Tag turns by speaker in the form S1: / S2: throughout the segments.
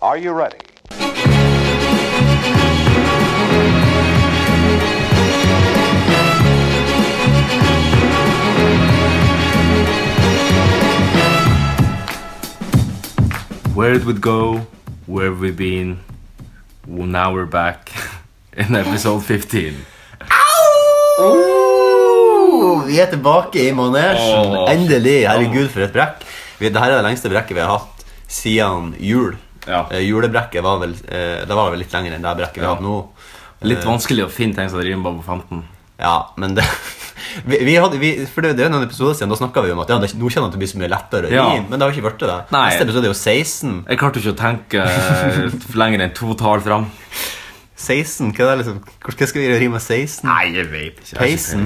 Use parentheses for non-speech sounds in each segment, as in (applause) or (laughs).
S1: Are you ready?
S2: Where did we go? Where have we been? Well, now we're back (laughs) in episode 15.
S3: Oh, vi er tilbake i manesjen.
S2: Åh.
S3: Endelig. Herregud, for et brekk. Vi- Dette er det lengste brekket vi har hatt siden jul.
S2: Ja.
S3: Eh, julebrekket var vel, eh, det var vel litt lenger enn det brekket vi har hatt nå. Eh.
S2: Litt vanskelig å finne ting som rimer på 15.
S3: Ja, men det (laughs) vi, vi hadde, vi, for det, det er noen episoder siden Da snakka vi om at ja, det, nå kjenner jeg at det blir så mye lettere å
S2: Ja.
S3: ri, men det har ikke blitt det.
S2: Nei.
S3: Neste episode er jo 16.
S2: Jeg klarte ikke å tenke eh, lenger enn to tall fram.
S3: 16, Hva, er det, liksom? Hva skal vi gjøre å rime 16?
S2: Nei, jeg vet ikke.
S3: Peisen.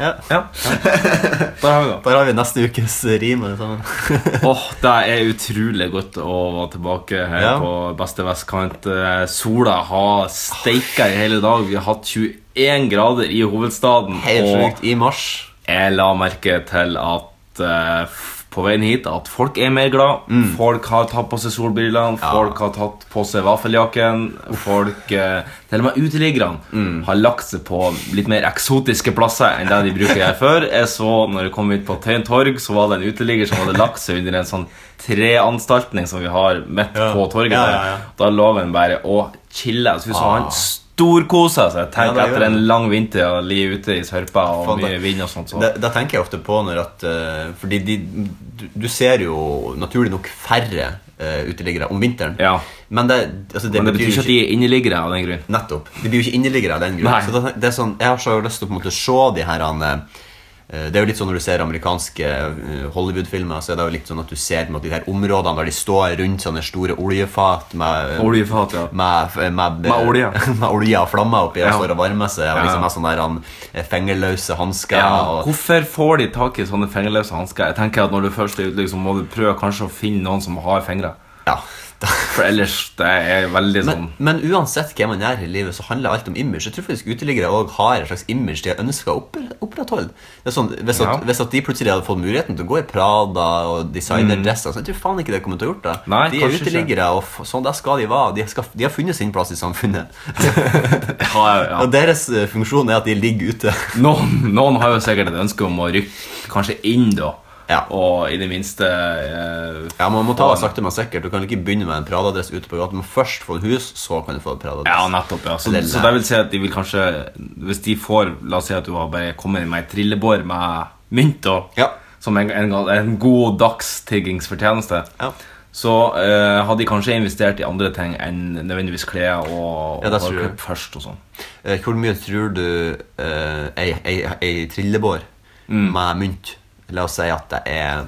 S3: Ja.
S2: Ja. Der har vi det.
S3: Der har vi neste ukes eh, rim. eller sånn.
S2: Åh, Det er utrolig godt å være tilbake her
S3: Ja.
S2: på beste vestkant. Eh, Sola har steika i hele dag. Vi har hatt 21 grader i hovedstaden.
S3: (laughs) Helt
S2: og
S3: sjukt. I mars.
S2: Jeg la merke til at eh, f- på veien hit at folk er mer glad.
S3: Mm.
S2: Folk har tatt på seg solbrillene, folk har tatt på seg vaffeljakken. Folk, eh, Til og med uteliggerne
S3: Mm.
S2: har lagt seg på litt mer eksotiske plasser enn det de bruker her før. Jeg så når jeg kom ut på Tøyen torg, så var det en uteligger som hadde lagt seg under en sånn treanstaltning som vi har midt
S3: Ja.
S2: på torget.
S3: Ja,
S2: der.
S3: ja, ja.
S2: Da lå han bare og chilla. Så vi så
S3: Ah.
S2: han storkosa seg.
S3: Ja,
S2: Tenk
S3: det gjør
S2: etter
S3: han.
S2: en lang vinter og ligge ute i sørpa og
S3: Faen,
S2: mye
S3: det-
S2: vind og sånt. Så.
S3: Det, det tenker jeg ofte på når at eh, Fordi de, du, du ser jo naturlig nok færre eh, uteliggere om vinteren.
S2: Ja.
S3: Men det, altså, det,
S2: Men det betyr ikke at de er inneliggere av den grunn.
S3: Nettopp. De blir jo ikke inneliggere av den grunn.
S2: Nei.
S3: Så det, det er sånn, jeg har så lyst til å på en måte se de her han, eh, Det er jo litt sånn når du ser amerikanske eh, Hollywood-filmer, så er det jo litt sånn at du ser på en måte, de her områdene der de står rundt sånne store oljefat med eh,
S2: Oljefat, ja.
S3: Med, med, eh,
S2: Med olje.
S3: (laughs) med olje og flammer oppi og
S2: Ja.
S3: står og varmer seg. Og
S2: Ja.
S3: liksom Med sånne der, han, eh, fingerløse hansker.
S2: Ja,
S3: og,
S2: hvorfor får de tak i sånne fingerløse hansker? Jeg tenker at Når du først er ute, liksom, må du prøve kanskje å finne noen som har fingre.
S3: ja. (laughs) da-
S2: For ellers det er veldig sånn
S3: Men, men uansett hva man gjør i livet, så handler alt om image. Jeg tror faktisk uteliggere òg har et slags image de ønsker å oppre- opprettholde. Det er sånn, hvis,
S2: Ja.
S3: at, hvis at de plutselig hadde fått muligheten til å gå i Prada og designerdresser, så jeg tror faen ikke det kommer til å gjort det.
S2: Nei,
S3: de er
S2: kanskje ikke.
S3: uteliggere, og f- sånn der skal de være. De, skal, de har funnet sin plass i samfunnet.
S2: ja, ja.
S3: (laughs)
S2: (laughs)
S3: Og deres eh, funksjon er at de ligger ute.
S2: noen, noen har jo sikkert et ønske om å rykke kanskje inn, da.
S3: Ja.
S2: Og i det minste eh,
S3: Ja, Man må ta det sakte, men sikkert. Du kan ikke begynne med en Prada-dress ute på gata. Du må først få et hus, så kan du få et Prada-dress.
S2: Ja, nettopp. ja så,
S3: Eller-
S2: så det vil si at de vil kanskje Hvis de får La oss si at du har bare kommet med ei trillebår med mynt, da,
S3: Ja.
S2: som en, en, en god dagstiggingsfortjeneste
S3: Ja.
S2: så eh, hadde de kanskje investert i andre ting enn nødvendigvis klær og, og
S3: Ja, det tror jeg.
S2: hårklipp først. og sånn
S3: Eh, Hvor mye tror du eh, ei, ei, ei trillebår med mynt La oss si at det er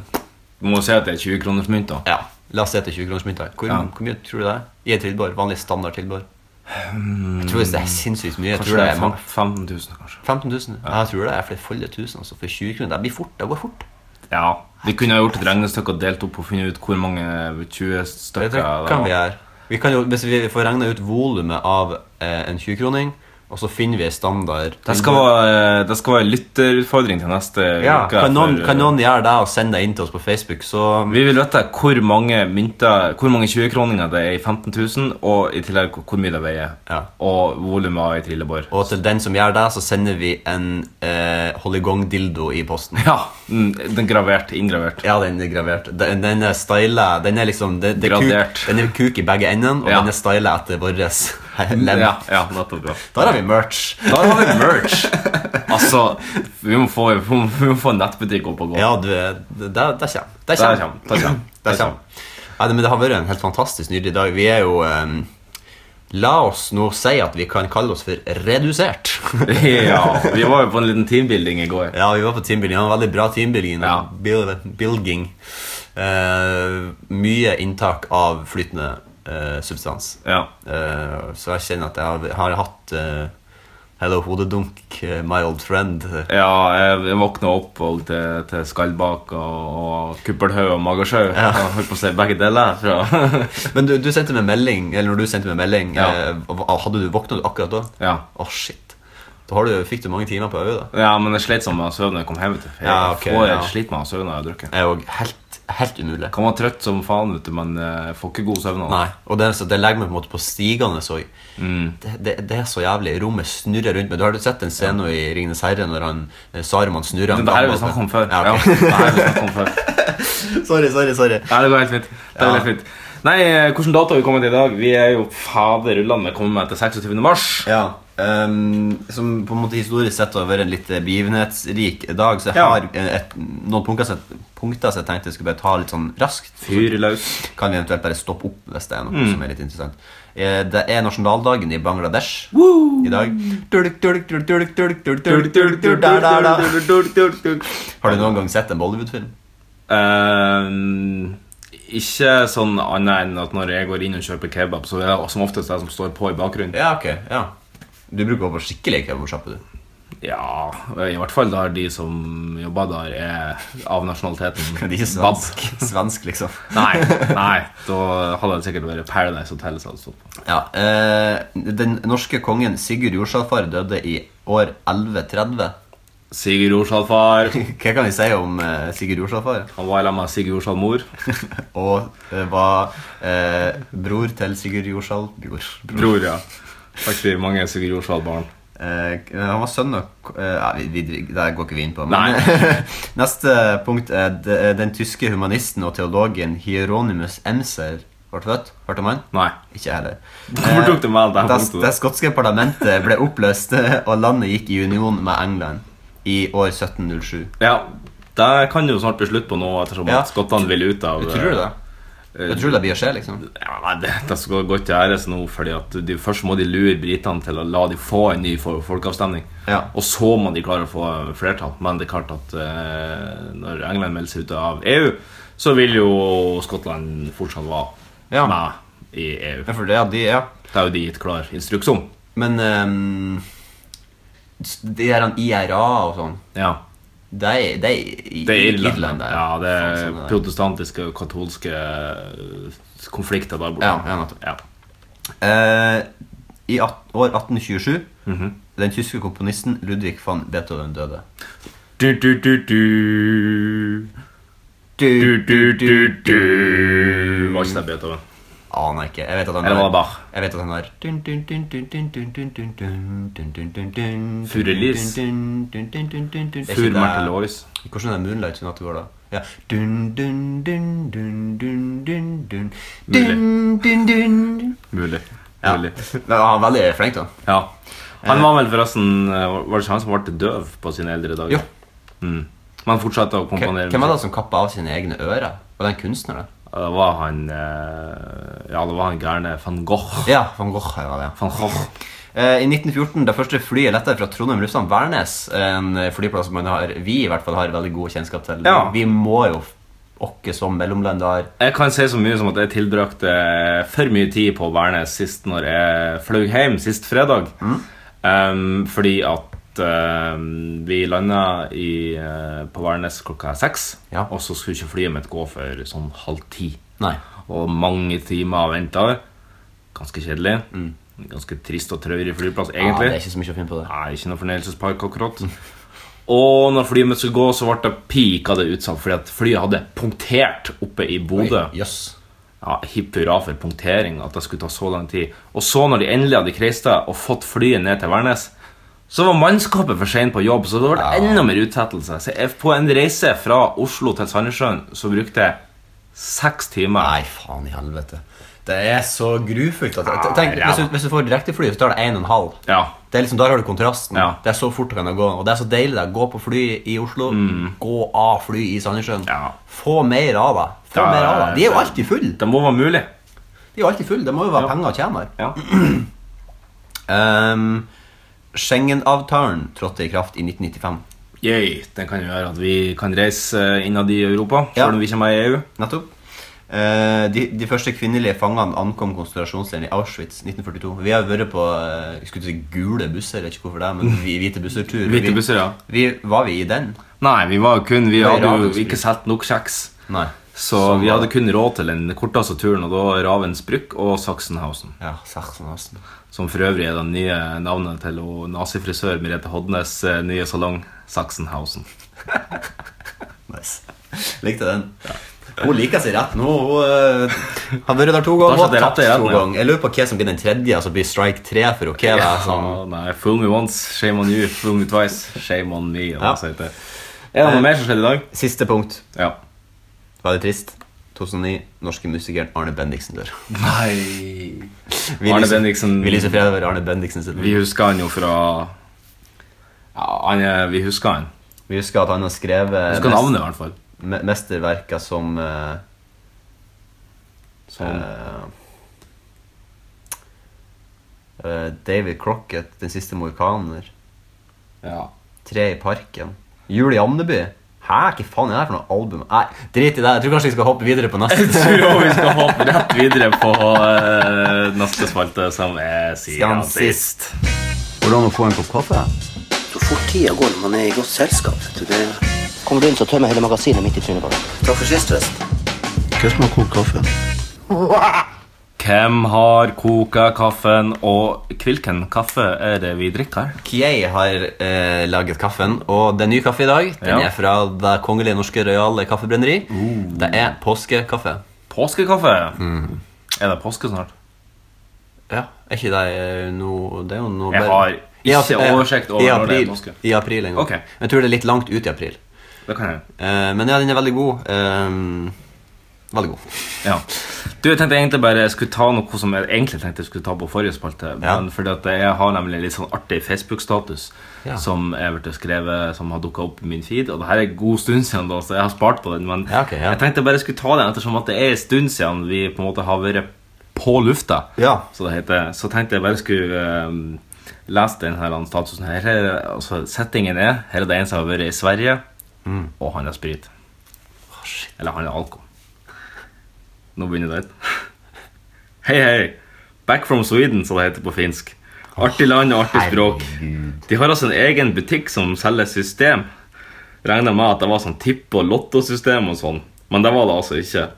S2: Du må jo si at det er 20-kronersmynt. da
S3: Ja, la oss si at det er 20 kroners mynt. da. Hvor,
S2: Ja.
S3: hvor mye tror du det er? I ei trillebår? Vanlig standard trillebår? Jeg tror det er sinnssykt mye. Jeg
S2: Kanskje
S3: tror Hmm. det er
S2: fem-
S3: mange.
S2: 15 000, kanskje.
S3: 15 000? Ja. Jeg tror det er flerfoldige tusen. Altså, for 20 kroner. Det blir fort. Det går fort.
S2: Ja, Vi kunne ha gjort et regnestykke og delt opp og funnet ut hvor mange 20
S3: Det
S2: stykker
S3: tror-
S2: det
S3: kan
S2: var.
S3: vi gjøre. Vi kan jo, hvis vi får regna ut volumet av eh, en 20-kroning, og så finner vi ei standard
S2: Det skal være, eh, det skal være lytterutfordring til neste
S3: ja,
S2: uke.
S3: kan, noen,
S2: for-
S3: kan noen gjøre det og sende det inn til oss på Facebook, så
S2: Vi vil vite hvor mange mynter, hvor mange 20-kroninger det er i 15 000, og i tillegg hvor mye det veier.
S3: Ja.
S2: Og volumet av ei trillebår.
S3: Og til den som gjør det, så sender vi en eh, holigong-dildo i posten.
S2: Ja, mm, den gravert, inngravert.
S3: Ja, den er gravert. Den, den er styla. Den er liksom det, det er
S2: Gradert.
S3: Kuk, den er kuk i begge endene, og
S2: Ja.
S3: den er styla etter vår (laughs) lem.
S2: Ja, ja, nettopp, ja.
S3: Der har vi merch.
S2: Da har vi merch. Altså, vi må få, vi må, vi må få en nettbutikk opp og gå.
S3: Ja, du er Det, det det kommer.
S2: Der
S3: Det
S2: kommer, der kommer, der
S3: Det
S2: kommer.
S3: kommer. Nei, men det har vært en helt fantastisk nydelig dag. Vi er jo eh, La oss nå si at vi kan kalle oss for redusert.
S2: (laughs) (laughs) ja, vi var jo på en liten teambuilding i går.
S3: Ja, vi var på teambuilding. Det var veldig bra teambuilding.
S2: Ja.
S3: Bil- Building. Eh, mye inntak av flytende eh, substans.
S2: Ja.
S3: Eh, så jeg kjenner at jeg har, har hatt eh, Hello hodedunk, eh, my old friend.
S2: (laughs) Ja, jeg- jeg våkna opp og til, til skallbak og, og kuppelhaug og magesjau. Ja. Holdt på å si begge deler. Fra.
S3: Men du, du sendte meg melding, eller når du sendte meg melding,
S2: Ja.
S3: eh, hva- hadde du våknet akkurat da?
S2: (laughs) Ja.
S3: Åh, shit. Da har du, fikk du mange timer på øyet da.
S2: Ja, men jeg slet sånn med å sove når jeg kom hjem. vet du. Jeg
S3: Ja, ok,
S2: får jeg
S3: ja.
S2: slit med å sove når jeg har drukket.
S3: Jeg er jo helt, helt umulig.
S2: Kan være trøtt som faen, vet du, men eh, får ikke god søvn av det.
S3: Nei, og det, så det legger meg på en måte på stigende så det, det, det er så jævlig. Rommet snurrer rundt meg. Du har jo sett den scenen i Ringenes herre når han, eh, Saruman snurrer han
S2: Det her har vi
S3: gammel-
S2: snakket om før.
S3: Ja,
S2: Ja,
S3: ok.
S2: det her har vi snakket om før.
S3: sorry, sorry, sorry.
S2: Nei, det går helt fint. Det går helt fint. Nei, eh, hvordan dato har vi kommet til i dag? Vi er jo faderullan vi kommer med til 26. mars.
S3: Ja, ehm, som på en måte historisk sett har vært en litt eh, begivenhetsrik dag, så jeg
S2: Ja.
S3: har eh, et, noen punkter, som jeg- punkter som jeg tenkte jeg skulle bare ta litt sånn raskt.
S2: Fyr løs.
S3: Kan vi eventuelt bare stoppe opp hvis det er noe som er litt interessant. Eh, Det er nasjonaldagen i Bangladesh i dag. Har du noen gang sett en Bollywood-film?
S2: Eh, ikke sånn annet enn at når jeg går inn og kjøper kebab, så er det som oftest jeg som står på i bakgrunnen.
S3: Ja, ok. ja Du bruker å være skikkelig kebabsjappe, du. (laughs)
S2: Ja, i hvert fall der de som jobber der, er av nasjonaliteten
S3: (laughs) De er
S2: Bab.
S3: svensk, svensk liksom.
S2: Nei, nei, da hadde det sikkert vært Paradise altså. Hotel. som hadde stått på.
S3: Ja, eh, Den norske kongen Sigurd Jorsalfar døde i år 1130.
S2: Sigurd Jorsalfar.
S3: Hva kan vi si om eh, Sigurd Jorsalfar?
S2: Han var i lag med Sigurd Jorsal mor.
S3: (laughs) Og eh, var eh, bror til Sigurd Jorsal bror, bror.
S2: Bror, ja. Faktisk mange Sigurd Jorsal-barn.
S3: Eh, han var sønn av eh, ja, vi, vi, Det går ikke vi inn på. Men,
S2: Nei.
S3: (laughs) neste punkt er de- den tyske humanisten og teologen Hieronymus Emser. Ble født? Hørte om han?
S2: Nei.
S3: Ikke heller.
S2: (laughs)
S3: Eh,
S2: Hvor tok du med det her
S3: det,
S2: punktet?
S3: det skotske parlamentet ble oppløst, (laughs) og landet gikk i union med England i år 1707.
S2: Ja, det kan jo snart bli slutt på nå, ettersom
S3: Ja.
S2: at skottene vil ut av eh,
S3: Tror du det? Jeg tror det blir å skje, liksom.
S2: Ja, nei, det, det skal godt gjøres nå, fordi at de, først må de lure britene til å la de få en ny for- folkeavstemning.
S3: Ja.
S2: Og så må de klare å få flertall. Men det er klart at eh, når England melder seg ut av EU, så vil jo Skottland fortsatt være
S3: Ja.
S2: med i EU.
S3: Ja, for det, ja, de, ja.
S2: Det er jo de gitt klar instruks om.
S3: Men ehm, de der han IRA og sånn
S2: Ja.
S3: Det er, det er, i-
S2: Det er Irland.
S3: Irland, det er.
S2: ja, det
S3: Faen,
S2: er
S3: sånn det er.
S2: protestantiske og katolske eh, konflikter der borte.
S3: Ja, ja, nettopp.
S2: Ja.
S3: Eh, I at, år 1827
S2: Mhm.
S3: Den tyske komponisten Ludvig van Beethoven døde.
S2: Du, du, du, du. Du, du, du, du. Var ikke det Beethoven?
S3: Aner ikke. Jeg vet at han
S2: Eller var det Bach?
S3: Jeg vet at han har
S2: Furelis. Fur Märtha
S3: Furlis.
S2: Lois.
S3: Hvordan er det Moonlight sin natt i går, da? Ja. Dun, dun, dun, dun, dun, dun, dun.
S2: Mulig.
S3: Dun, dun,
S2: (laughs)
S3: dun.
S2: Mulig.
S3: Ja.
S2: Mulig.
S3: Men Han er veldig flink, da.
S2: Ja. Han var vel forresten eh, Var det ikke han som ble døv på sine eldre dager?
S3: Jo.
S2: Mm. Men fortsatte å komponere.
S3: Hvem var det som kappa av sine egne ører? Var det en kunstner, da?
S2: Det var han eh, Ja, det var han gærne van Gogh.
S3: Ja, van Gogh her var det. ja.
S2: Van Gogh.
S3: Eh, I 1914, det første flyet lette fra Trondheim lufthavn Værnes, en eh, flyplass som man har, vi i hvert fall har veldig god kjennskap til.
S2: Ja.
S3: Vi må jo åkke som mellomland der.
S2: Jeg kan si så mye som at jeg tilbrakte eh, for mye tid på Værnes sist når jeg fløy hjem sist fredag.
S3: Mm.
S2: Um, fordi at um, vi landa i, eh, på Værnes klokka seks,
S3: Ja.
S2: og så skulle ikke flyet mitt gå for sånn halv ti.
S3: Nei.
S2: Og mange timer av venta. Ganske kjedelig. Ganske trist og traurig flyplass,
S3: Mm. Ja, det
S2: egentlig.
S3: er ikke så mye å finne på det.
S2: Nei, ikke noe fornøyelsespark akkurat. Og når flyet mitt skulle gå, så ble det pika det utsatt, fordi at flyet hadde punktert oppe i Bodø.
S3: Oi, Jøss.
S2: Ja, Hipp hurra for punktering, at det skulle ta så lang tid. Og så, når de endelig hadde kreist det og fått flyet ned til Værnes, så var mannskapet for sein på jobb, så det ble enda mer utsettelse. Så jeg, på en reise fra Oslo til Sandnessjøen så brukte jeg seks timer.
S3: Nei, faen i helvete. Det er så grufullt. At,
S2: Ja,
S3: tenk,
S2: ja.
S3: hvis, du, hvis du får direktefly, så tar det 1,5.
S2: Ja.
S3: Det er liksom, Der har du kontrasten.
S2: Ja.
S3: Det er så fort det kan gå. Og det er så deilig. det er Gå på fly i Oslo, gå av fly i Sandnessjøen.
S2: Mm. Ja.
S3: Få mer av det. Få
S2: Det er-
S3: mer av det. De er jo alltid fulle.
S2: Det må være mulig.
S3: De er jo alltid full. Det må jo være penger å tjene her.
S2: Ja.
S3: (clears throat) Ehm, Schengen-avtalen trådte i kraft i 1995.
S2: Yay, den kan jo gjøre at vi kan reise eh, innad i Europa,
S3: Ja.
S2: selv om vi ikke er med i E EU.
S3: Nettopp. Eh, de, de første kvinnelige fangene ankom konsentrasjonsleiren i Auschwitz 1942. Vi har vært på eh, jeg skulle til å si gule busser, jeg vet ikke hvorfor det, men vi, hvite busser-tur.
S2: (laughs) Hvite
S3: Vi-
S2: busser, ja.
S3: Vi, var vi i den?
S2: Nei, vi var jo kun, vi
S3: Nei,
S2: hadde jo
S3: Ravensbrück.
S2: ikke solgt nok kjeks.
S3: Nei.
S2: Så vi hadde kun råd til den korteste turen, og da Ravensbrück og Sachsenhausen.
S3: Ja, Sachsenhausen.
S2: Som for øvrig er det nye navnet til hun nazifrisør Merete Hodnes eh, nye salong, Sachsenhausen.
S3: Nice. Likte den. Hun liker seg rett nå. Hun eh, har vært der to
S2: Da
S3: ganger og
S2: satt jeg
S3: tapt
S2: rett i retten,
S3: to
S2: ja.
S3: ganger. Jeg lurer på hva som blir den tredje, altså blir strike tre for henne. hva er sånn- det som-
S2: Ah, nei, fool me once, shame on you. Fool me twice, shame on me. Ja.
S3: Ja.
S2: Er det noe mer som skjedde i dag?
S3: Siste punkt.
S2: Ja.
S3: Veldig trist. 2009. Norske musikeren Arne Bendiksen dør.
S2: Nei
S3: Vi
S2: Arne
S3: lyser-
S2: Bendiksen-
S3: Vi lyser fred over Arne Bendiksen sitt
S2: Vi husker han jo fra ja, han er, Vi husker han.
S3: Vi husker at han har skrevet
S2: Husker
S3: mest-
S2: navnet, i hvert fall.
S3: me mesterverker som eh,
S2: Som,
S3: eh, eh, David Crocket, Den siste mohikaner,
S2: ja.
S3: Tre i parken, Jul i Andeby. Hæ, hva faen er det her for noe album? Nei, Drit i det. Jeg tror kanskje vi skal hoppe videre på
S2: Jeg
S3: (laughs) neste.
S2: tror vi skal hoppe rett videre på eh, neste spalte, som er
S3: Siden
S2: siden sist.
S3: sist. Hvordan å få en kopp kaffe?
S1: Så fort tida går når man er i godt selskap. vet du, Det
S4: Kommer du inn, så tømmer jeg hele magasinet midt i trynet på deg.
S1: Takk for sist, forresten.
S2: Hvem har koka kaffen, og hvilken kaffe er det vi drikker?
S3: Kiei har eh, laget kaffen, og det er ny kaffe i dag. Den
S2: Ja.
S3: er fra Det kongelige norske rojale kaffebrenneri. Det er påskekaffe.
S2: Påskekaffe?
S3: Mm.
S2: Er det påske snart?
S3: Ja, er ikke det eh, noe Det er jo noe
S2: Jeg
S3: bare-
S2: har
S3: I
S2: ikke
S3: april-
S2: oversikt over når
S3: i
S2: det er
S3: april-
S2: påske.
S3: I april en gang.
S2: Ok.
S3: Jeg tror det er litt langt ut i april.
S2: Det kan jeg.
S3: Eh, men ja, den er veldig god. Eh, veldig god.
S2: Ja. Du, jeg tenkte egentlig bare jeg skulle ta noe som jeg egentlig tenkte jeg skulle ta på forrige spalte.
S3: Ja.
S2: Men fordi at jeg har nemlig litt sånn artig Facebook-status
S3: Ja.
S2: som jeg ble skrevet, som har dukka opp i min feed. Og det her er en god stund siden, da, så jeg har spart på den. Men
S3: Ja, ok, ja.
S2: jeg tenkte jeg bare skulle ta den ettersom at det er en stund siden vi på en måte har vært på lufta.
S3: Ja.
S2: Så, det heter, så tenkte jeg bare skulle ehm, lese den her statusen her. her er, altså, settingen er her er det en som har vært i Sverige, og han har sprit. Eller han har alkohol. Nå begynner det. (laughs) Hei, hei. Back from Sweden, som det heter på finsk. Artig land og artig språk. De har altså en egen butikk som selger system. Regna med at det var sånn tipp- og lottosystem og sånn, men det var det altså ikke.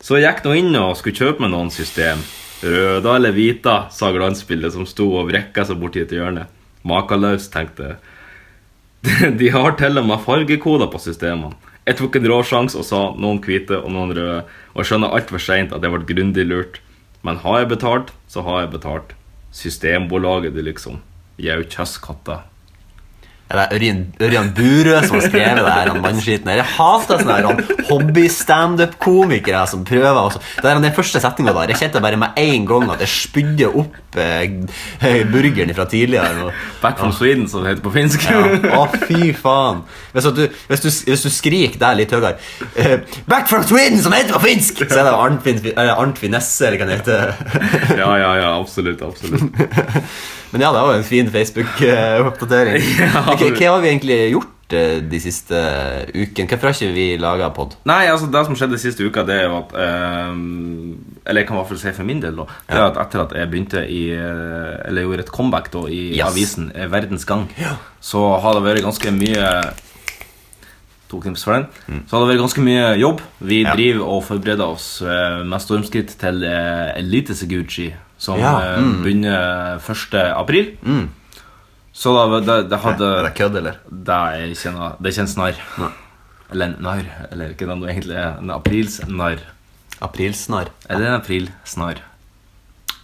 S2: Så jeg gikk nå inn og skulle kjøpe meg noen system. Røda eller hvita, sa glansbildet som sto og vrekka seg borti et hjørne. Makeløst, tenkte jeg. (laughs) De har til og med fargekoder på systemene. Jeg tok en rå sjanse og sa noen hvite og noen røde, og jeg skjønner altfor seint at jeg ble grundig lurt. Men har jeg betalt, så har jeg betalt. Systembolaget, det liksom. Jau, kjøsskatta.
S3: Ja, det er Ørjan, Ørjan Burøe som har skrevet det her. han mannskiten her. Jeg hater sånne her, han hobby-standup-komikere som prøver. Også. Det er Den første setninga der. Jeg kjente bare med en gang at jeg spydde opp eh, (laughs) burgeren fra tidligere.
S2: Back from Sweden, som det heter på finsk.
S3: Ja. Å, fy faen. Hvis at du, hvis du, hvis du skriker der litt høyere eh, Back from Sweden, som heter på finsk! Så er det Arnfinn eh, Arnfinn Nesse, eller hva det heter.
S2: (laughs) ja, ja, ja, absolutt. absolutt.
S3: Men ja, det var jo en fin Facebook-oppdatering.
S2: (laughs) Ja.
S3: Hva har vi egentlig gjort eh, de siste eh, ukene? Hvorfor har ikke vi laga pod?
S2: Nei, altså Det som skjedde siste uka, det er jo at ehm, Eller jeg kan i hvert fall si for min del, da. Det er at Etter at jeg begynte i eh, Eller gjorde et comeback da i
S3: Yes.
S2: avisen eh, Verdens Gang, så har det vært ganske mye To knips for den. Så har det vært ganske mye jobb. Vi
S3: Ja.
S2: driver og forbereder oss eh, med stormskritt til uh, Elite Seguchi, som
S3: Ja,
S2: eh, begynner 1. april. Så da, det, Mm. det hadde
S3: Er det kødd, eller?
S2: det er ikke en, det er ikke en snarr. Eller en narr. Eller ikke den du egentlig er. En aprilsnarr.
S3: Aprilsnarr.
S2: Eller en aprilsnarr.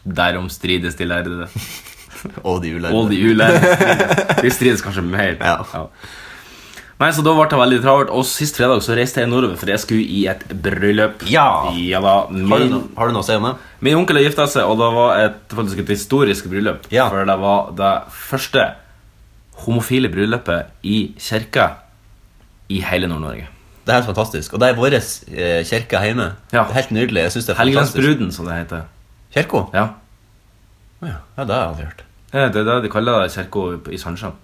S2: Derom strides de
S3: (laughs)
S2: lærde.
S3: Og de
S2: Og
S3: ulærde.
S2: de ulærde strides. De strides kanskje mer.
S3: Ja.
S2: Nei, så Da ble det veldig travelt, og sist fredag så reiste jeg nordover, for jeg skulle i et bryllup.
S3: Ja.
S2: da,
S3: Har, du
S2: min,
S3: no, har du noe å si om det?
S2: min onkel har gifta seg, og det var et, faktisk et historisk bryllup.
S3: Ja.
S2: For det var det første homofile bryllupet i kirka i hele Nord-Norge.
S3: Det her er fantastisk. Og det er vår eh, kirke hjemme.
S2: Ja.
S3: Det er helt nydelig. jeg synes det er fantastisk.
S2: Helgelandsbruden, som det heter.
S3: Kirka?
S2: Ja.
S3: Ja, det har jeg aldri hørt.
S2: Eh, Det er det de kaller det kirka i Sandstrand.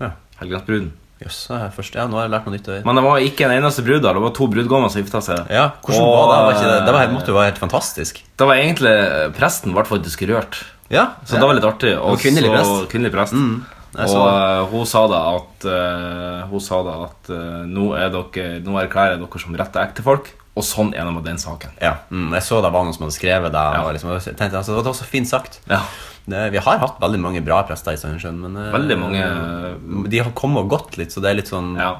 S3: Ja.
S2: Helgelandsbruden.
S3: Jøss, det er første- ja, nå har jeg lært noe nytt. å vite.
S2: Men det var ikke en eneste brud der. Det var to brudgommer som gifta seg.
S3: Ja, hvordan
S2: Og,
S3: var det? Var ikke det? Det var, helt- måtte jo være helt fantastisk.
S2: Det var egentlig eh, Presten ble faktisk rørt.
S3: Ja,
S2: Så det var litt artig. Og
S3: Det var kvinnelig
S2: så-
S3: prest. Mm.
S2: Kvinnelig prest.
S3: jeg
S2: og
S3: så
S2: eh, hun sa da at, eh, hun sa da at eh, nå, er dere, nå erklærer jeg dere som rette ektefolk, og sånn er det med den saken.
S3: Ja, mm, Jeg så det var noen som hadde skrevet det. Og liksom, jeg tenkte, altså, det var så fint sagt.
S2: Ja.
S3: Det, vi har hatt veldig mange bra prester i Sandnessjøen, men eh,
S2: Veldig mange-
S3: De har kommet og gått litt, så det er litt sånn
S2: Ja.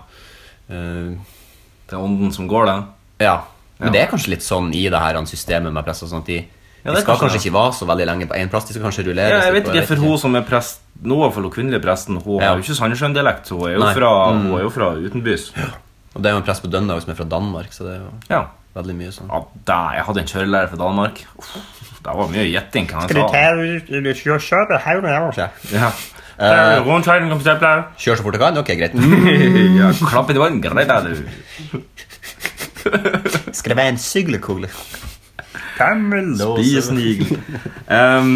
S3: eh,
S2: Det er ånden som går der.
S3: Ja.
S2: Ja.
S3: Men det er kanskje litt sånn i det her han systemet med presser. Sånn at de,
S2: Ja,
S3: de
S2: det er
S3: skal
S2: kanskje
S3: kanskje
S2: det.
S3: ikke være så veldig lenge på én plass. De skal kanskje rulleres
S2: Ja, jeg
S3: litt
S2: vet
S3: på-
S2: ikke, for hun som er prest nå, for hun kvinnelige presten, hun
S3: Ja.
S2: har jo ikke Sandnessjøen-dialekt. Hun, er jo
S3: Nei. Mm.
S2: fra- hun er jo fra utenbys.
S3: Og det er jo en prest på Døndag som er fra Danmark, så det er jo
S2: Ja.
S3: veldig mye sånn.
S2: ja der, jeg hadde en kjørelærer fra Danmark. Uff, Det var mye gjetting, kan jeg
S5: Skal du
S2: sa.
S5: ta ut du skal kjøre hele nærmere?
S2: Ja.
S3: Eh,
S2: Rundkjøring, kom til
S3: (laughs)
S2: deg.
S3: Kjør så fort du kan? Ok, greit.
S2: Ja, klapp inn i vann, greit er du.
S3: Skal det være en syglekule?
S5: Gammel
S2: Spis en igel. Ehm,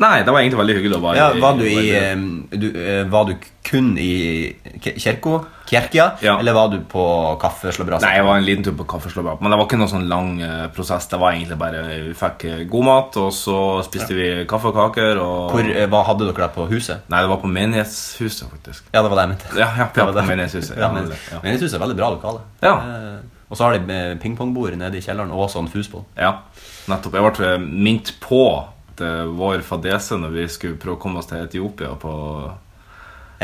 S2: nei, det var egentlig veldig hyggelig å være
S3: Ja, var du i eh, du, eh, Var du kun i k- kirka? Kjerkia?
S2: Ja.
S3: Eller var du på kaffeslåbrasa?
S2: Nei, jeg var en liten tur på kaffeslåbrok, men det var ikke noen sånn lang eh, prosess. Det var egentlig bare Vi fikk eh, god mat, og så spiste vi kaffe og kaker, og
S3: Hvor, eh, hva hadde dere der på huset?
S2: Nei, det var på menighetshuset, faktisk.
S3: Ja, det var det jeg mente.
S2: Ja, ja,
S3: Det
S2: ja
S3: var
S2: på
S3: det.
S2: menighetshuset.
S3: Ja,
S2: Ja,
S3: men,
S2: ja.
S3: Menighetshuset er veldig bra lokale.
S2: Ja.
S3: Eh, Og så har de eh, pingpongbord nede i kjelleren og sånn fusball.
S2: Ja, nettopp. Jeg ble eh, minnet på det vår fadese når vi skulle prøve å komme oss til Etiopia på,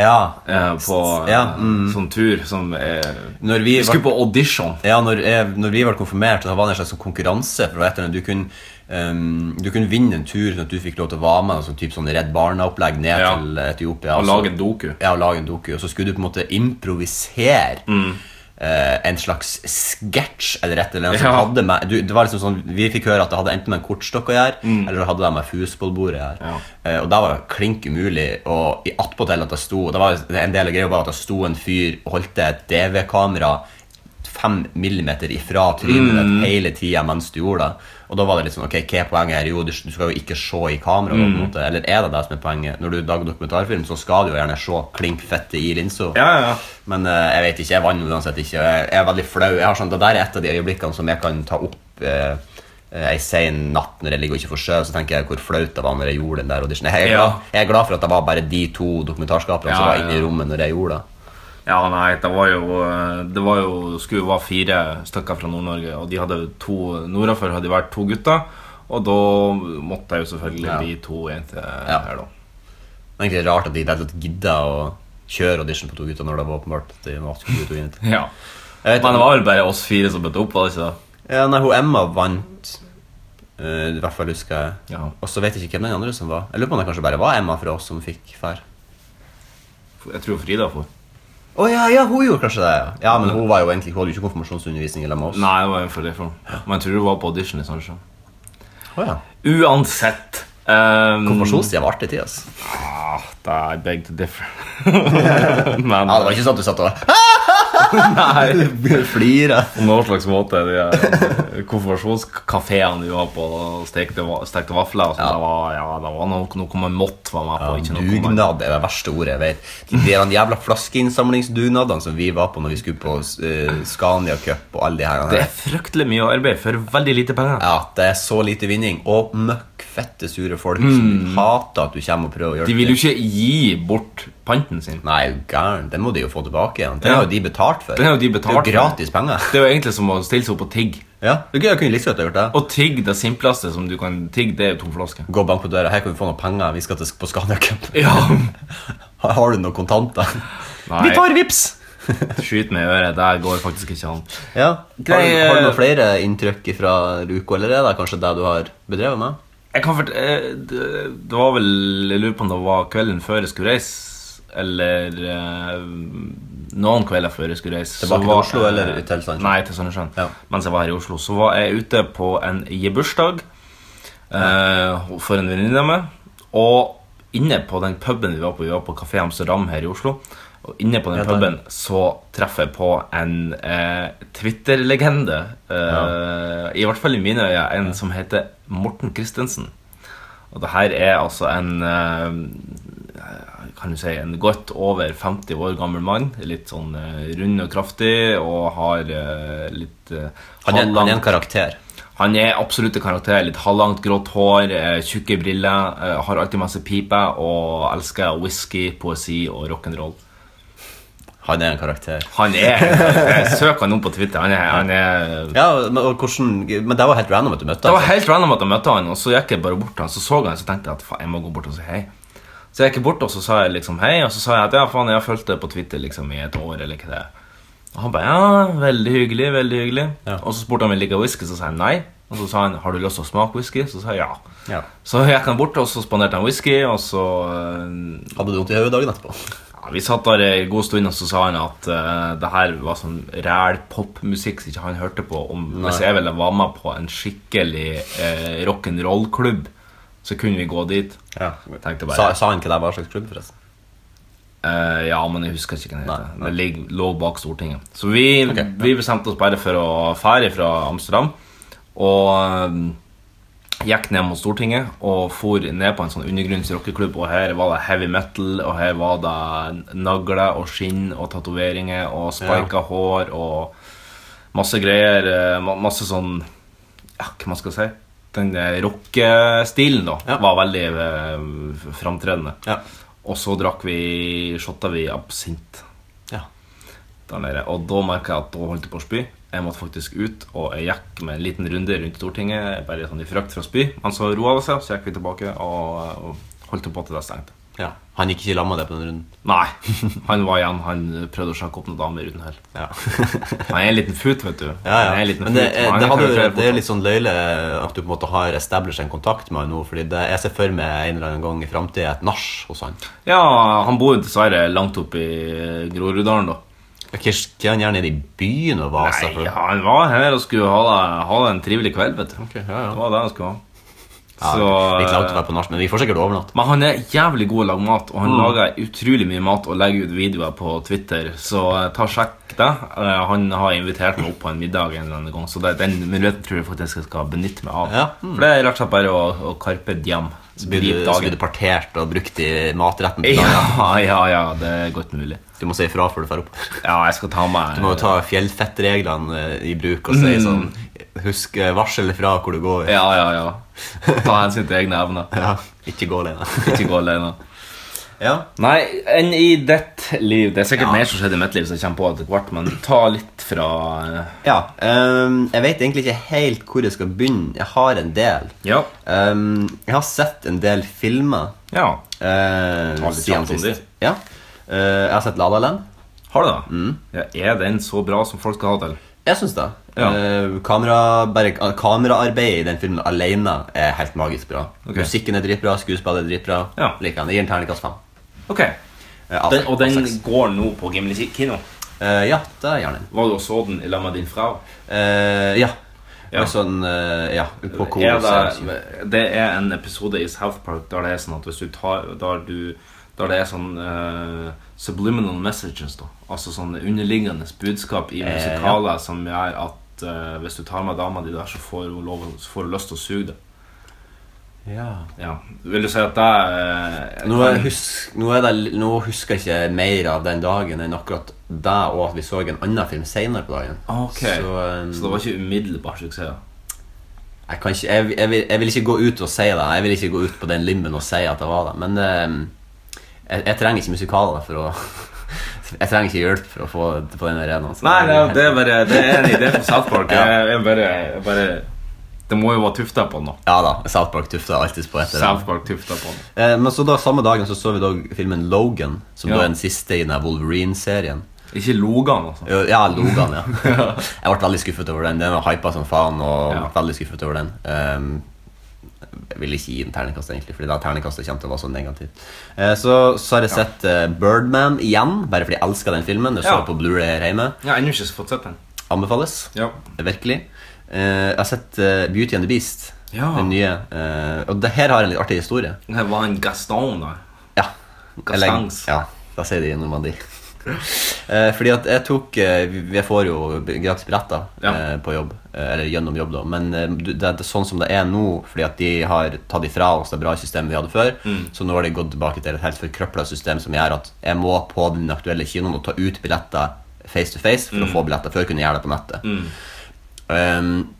S3: Ja.
S2: eh, på eh,
S3: Ja, mm.
S2: sånn tur som eh,
S3: Når vi
S2: Vi skulle på audition.
S3: Ja, når, jeg, når vi ble konfirmert, så var det en slags sånn konkurranse. For det var et eller annet, du, kunne, ehm, du kunne vinne en tur sånn at du fikk lov til å være med. Sånn, typ sånn Redd Barna-opplegg ned
S2: Ja.
S3: til Etiopia.
S2: Og
S3: så-
S2: lage en doku.
S3: Ja, og lage en doku. Og så skulle du på en måte improvisere.
S2: Mm.
S3: eh, en slags sketsj eller et eller annet som
S2: Ja.
S3: hadde med du, det var liksom sånn, Vi fikk høre at det hadde enten med en kortstokk å gjøre, eller så hadde det med fusballbordet å gjøre.
S2: Mm. Ja.
S3: Eh, og det var klink umulig. Og i attpåtil at det sto Det var en del av greia var at det sto en fyr og holdt et DV-kamera fem millimeter ifra trynet
S2: Mm.
S3: ditt hele tida mens du gjorde det. Og da var det litt sånn, ok, hva er poenget her? Jo, du, du skal jo ikke se i kamera. på en
S2: Mm.
S3: måte, Eller er det det som er poenget? Når du lager dokumentarfilm, så skal du jo gjerne se klink fette i linsa.
S2: Ja, ja, ja.
S3: Men eh, jeg vet ikke, jeg vant uansett ikke. og Jeg jeg er veldig flau. Jeg har sånn, Det der er et av de øyeblikkene som jeg kan ta opp eh, eh, en sen natt når jeg ligger og ikke får sjø. Så tenker jeg hvor flaut det var når jeg gjorde den der auditionen. Jeg er,
S2: Ja.
S3: glad, jeg er glad for at det var bare de to dokumentarskaperne som
S2: Ja,
S3: var
S2: ja,
S3: inne i
S2: ja.
S3: rommet når jeg gjorde det.
S2: Ja, nei, det var jo eh, Det var jo, skulle jo være fire stykker fra Nord-Norge, og de hadde jo to nordafor hadde de vært to gutter. Og da måtte jeg jo selvfølgelig
S3: Ja.
S2: bli to jenter
S3: Ja.
S2: her, da.
S3: Det er egentlig rart at de i det hele tatt gidda å kjøre audition på to gutter når det var åpenbart at de var skulle to jenter.
S2: Ja.
S3: Jeg vet
S2: Men det
S3: om-
S2: var vel bare oss fire som møtte opp, var det ikke det?
S3: ja, Nei, hun Emma vant. eh, I hvert fall husker jeg.
S2: Ja.
S3: Og så vet jeg ikke hvem den andre som var. Jeg lurer på om det kanskje bare var Emma fra oss som fikk fær.
S2: Jeg tror Frida for.
S3: Å ja, ja, hun gjorde kanskje det. Ja, Ja, men hun var jo egentlig, hun hadde jo ikke konfirmasjonsundervisning eller med oss.
S2: Nei, det var en for det for Men jeg tror hun var på audition i Sandnessjøen.
S3: Å ja.
S2: Uansett. Um,
S3: Konfirmasjonstida var artig tid, ass.
S2: Ah, det er I beg to (laughs) differ. Men
S3: Ja, det var ikke sånn at du satt og (laughs) flira.
S2: På noen slags måte. De her konfirmasjonskafeene du har på stekte, va- stekte vafler og sånn,
S3: Ja.
S2: det var, ja, det var noe, noe man måtte være med på. ikke noe man-
S3: Dugnad er det verste ordet jeg vet. De der jævla flaskeinnsamlingsdugnadene som vi var på når vi skulle på eh, Scania Cup og alle de her.
S2: Det er fryktelig mye arbeid for veldig lite penger.
S3: Ja, det er så lite vinning. Og møkkfette sure folk som hater at du kommer og prøver å gjøre
S2: De vil jo ikke gi bort panten sin.
S3: Nei, gæren. Den må de jo få tilbake igjen. Den har jo de betalt for.
S2: Den har jo de betalt
S3: det er jo gratis penger.
S2: Det er jo egentlig som å stille seg opp og tigge.
S3: Ja, det er gøy, jeg kunne like så godt ha gjort det.
S2: Og tigge det simpleste som du kan tigge, det er jo to flasker.
S3: Gå og bank på døra. Her kan vi få noen penger. Vi skal til på Scania Cup. (laughs)
S2: Ja. (laughs)
S3: Har du noen kontanter?
S2: Nei.
S3: Vi tar vips!
S2: Skyt med øret. Det går faktisk ikke an.
S3: Ja. Har,
S2: Grei,
S3: du- har du
S2: eh,
S3: noen flere inntrykk fra uka, eller er det kanskje det du har bedrevet med?
S2: Jeg kan fort... eh, Det det var vel Jeg lurer på om det var kvelden før jeg skulle reise. Eller eh, noen kvelder før jeg skulle reise. så
S3: Tilbake til
S2: var-
S3: Oslo, eller til Sandnessjøen?
S2: Nei, til Sandnessjøen.
S3: Ja.
S2: Mens jeg var her i Oslo, så var jeg ute på en gebursdag eh, for en venninne av meg. Og inne på den puben vi var på, vi var på Kafé Amsterdam her i Oslo. Og inne på den
S3: Ja, der.
S2: puben så treffer jeg på en eh, Twitter-legende. Eh, I hvert fall i mine øyne en som heter Morten Christensen. Og det her er altså en eh, Kan du si en godt over 50 år gammel mann. Litt sånn eh, rund og kraftig og har eh, litt eh,
S3: Han er, han er en
S2: halvlangt-
S3: karakter.
S2: han er absolutt en karakter. Litt halvlangt, grått hår, eh, tjukke briller. eh, Har alltid masse piper og elsker whisky, poesi og rock'n'roll.
S3: Han er en karakter.
S2: Han
S3: (laughs)
S2: er jeg Søk han om på Twitter. Han er, han er
S3: Ja, men, og hvordan, men det var helt random at du møtte
S2: Det var
S3: ham.
S2: helt random at jeg møtte han, og så gikk jeg bare bort til han, så så han, så tenkte jeg at faen, jeg må gå bort og si hei. Så jeg gikk bort, og så sa jeg liksom hei, og så sa jeg at ja, faen, jeg har fulgt deg på Twitter liksom i et år, eller hva det er. Og han ba, ja, veldig hyggelig, veldig hyggelig.
S3: Ja.
S2: Og så spurte han om jeg liker whisky, så sa han nei. Og så sa han har du lyst til å smake whisky, så sa jeg ja.
S3: Ja.
S2: Så gikk han bort, og så spanderte han whisky, og så eh,
S3: Hadde du vondt i hodet dagen etterpå?
S2: ja, Vi satt der en god stund, og så sa han at eh, det her var sånn ræl popmusikk som ikke han hørte på. Om, hvis jeg ville være med på en skikkelig eh, rock'n'roll-klubb, så kunne vi gå dit.
S3: Ja.
S2: Tenkte bare,
S3: Sa, sa han ikke deg hva slags klubb, forresten?
S2: Eh, ja, men jeg husker ikke hva den heter.
S3: Nei, nei.
S2: Den ligger- lå bak Stortinget. Så vi,
S3: Ok, ja.
S2: vi bestemte oss bare for å fære fra Amsterdam. Og eh, gikk ned mot Stortinget og for ned på en sånn undergrunns rockeklubb. Og her var det heavy metal, og her var det nagler og skinn og tatoveringer og spika hår og masse greier. eh, ma- Masse sånn ja, hva man skal si Den eh, rockestilen da
S3: Ja.
S2: var veldig eh, framtredende.
S3: Ja.
S2: Og så drakk vi shotta vi absint
S3: Ja.
S2: der nede. Og da merka jeg at da holdt jeg på å spy. Jeg måtte faktisk ut, og jeg gikk med en liten runde rundt Stortinget. Bare sånn i frakt for å spy. Men så roa det seg, så gikk vi tilbake og, og holdt på til det stengte.
S3: ja. Han gikk ikke i lag med deg på den runden?
S2: Nei, (laughs) han var igjen. Han prøvde å sjekke opp noen damer uten hell.
S3: Ja.
S2: (laughs) Han er en liten fut, vet du.
S3: Ja, ja.
S2: Han er en liten
S3: Men det,
S2: fut,
S3: er-
S2: han
S3: det,
S2: kan
S3: hadde,
S2: jo flere
S3: det er
S2: fortsatt.
S3: litt sånn løyle at du på en måte har established en kontakt med han nå. Fordi det, jeg ser for meg en eller annen gang i fremtiden et nach hos han.
S2: Ja, han bor jo dessverre langt oppe i Groruddalen, da.
S3: Ikke ikke han gjerne nede i byen og vase
S2: Nei,
S3: for
S2: han var her og skulle ha det, ha det en trivelig kveld, vet du.
S3: Ok, ja, ja.
S2: Det var det han skulle ha.
S3: Ja,
S2: Så,
S3: Litt langt å være på nach, men vi får sikkert overnatte.
S2: men han er jævlig god å lage mat,
S3: Mm.
S2: og han lager utrolig mye mat og legger ut videoer på Twitter, så eh, ta og sjekk det. Eh, Han har invitert meg opp på en middag en eller annen gang, så det, den muligheten tror jeg faktisk jeg skal benytte meg av.
S3: Ja, mm.
S2: For det er rett og slett bare å, å karpe diem.
S3: Så blir du,
S2: Grip
S3: så blir
S2: dagen.
S3: du partert og brukt i matretten. til dagen.
S2: Ja, ja, ja, det er godt mulig.
S3: Du må si ifra før du drar opp.
S2: Ja, jeg skal ta meg
S3: Du må jo ta fjellfettreglene eh, i bruk og si sånn Husk eh, varsel fra hvor du går.
S2: Mm. Ja, ja, ja. Ta hensyn til egne evner.
S3: Ja, Ikke gå alene.
S2: Ikke gå alene.
S3: ja. (laughs)
S2: Nei, enn i ditt liv. Det er sikkert
S3: Ja.
S2: mer som skjedde i mitt liv, som jeg kommer på etter hvert, men ta litt fra eh,
S3: ehm, jeg vet egentlig ikke helt hvor jeg skal begynne. Jeg har en del.
S2: Ja.
S3: Ehm, jeg har sett en del filmer
S2: ja.
S3: eh,
S2: Ta litt
S3: siden
S2: kjapt om
S3: sist.
S2: de.
S3: Ja. Eh, jeg har sett La La Land.
S2: Har du det? Ja, er den så bra som folk skal ha til?
S3: Jeg syns det.
S2: Ja.
S3: Eh, kamera, bare, ah, kameraarbeidet i den filmen alene er helt magisk bra.
S2: Ok.
S3: Musikken er dritbra, skuespillet er dritbra.
S2: Ja.
S3: Liker den. Jeg gir den terningkast fem.
S2: Ok.
S3: Eh, av-
S2: Den, og
S3: av
S2: den
S3: seks.
S2: går nå på Gimli kino.
S3: Eh, ja, det gjør den.
S2: Var du og så den i lag med din fra?
S3: Eh, ja.
S2: Ja.
S3: Og Sånn, eh, ja. På kor.
S2: er
S3: så-
S2: det, det er en episode i South Park der det er sånn at hvis du tar Der, du, der det er sånn eh, subliminal messages, da. Altså sånn underliggende budskap i musikaler som gjør at eh, hvis du tar med dama di der, så får hun, lov, så får hun lyst til å suge det.
S3: ja.
S2: Ja. Vil du si at det eh, er
S3: Nå, er- husk, nå, er det, nå husker jeg ikke mer av den dagen enn akkurat det, og at vi så en annen film senere på dagen.
S2: Ah, Ok,
S3: Så, eh,
S2: så det var ikke umiddelbar suksess?
S3: jeg, kan ikke, jeg, jeg, vil, jeg vil ikke gå ut og si det. Jeg vil ikke gå ut på den limben og si at det var det. Men eh, jeg, jeg trenger ikke musikaler for å (laughs) Jeg trenger ikke hjelp for å få det på den arenaen. så-
S2: Nei, nei, det er bare Det er en idé fra South (laughs) Park.
S3: Ja.
S2: Jeg, jeg bare, jeg bare Det må jo være tufta på noe.
S3: Ja da. South Park tufter alltids på etter
S2: South Park tufta på noe.
S3: Eh, men så da, samme dagen så så vi da filmen Logan, som
S2: Ja.
S3: da er den siste i den her Wolverine-serien.
S2: Ikke Logan, altså.
S3: Jo, Ja, Logan, ja.
S2: (laughs)
S3: (laughs) Jeg ble veldig skuffet over den. Den var hypa som faen. og
S2: Ja.
S3: ble veldig skuffet over den. Ehm, jeg vil ikke gi den terningkast, egentlig, fordi da terningkastet kommer til å være så negativt. Eh, så, så har jeg sett eh, Birdman igjen, bare fordi jeg elsker den filmen. Jeg så
S2: Ja.
S3: på Blu-ray her hjemme.
S2: Jeg har ennå ikke fått sett den.
S3: Anbefales.
S2: Ja.
S3: Virkelig. Eh, jeg har sett eh, Beauty and the Beast,
S2: Ja.
S3: den nye. eh, og det her har en litt artig historie.
S2: Det var en Gaston der.
S3: Ja. Eller-
S2: Gastangs.
S3: Ja, da sier de i Normandie. (laughs) Eh, fordi at jeg tok eh, vi- Jeg får jo gratis billetter
S2: Ja.
S3: eh, på jobb. eh, Eller gjennom jobb, da. Men eh, du- det er det- sånn som det er nå, fordi at de har tatt ifra oss det bra systemet vi hadde før, så nå har de gått tilbake til et helt forkrøpla system som gjør at jeg må på den aktuelle kinoen og ta ut billetter face to face for å få billetter før jeg kunne gjøre det på nettet. Um,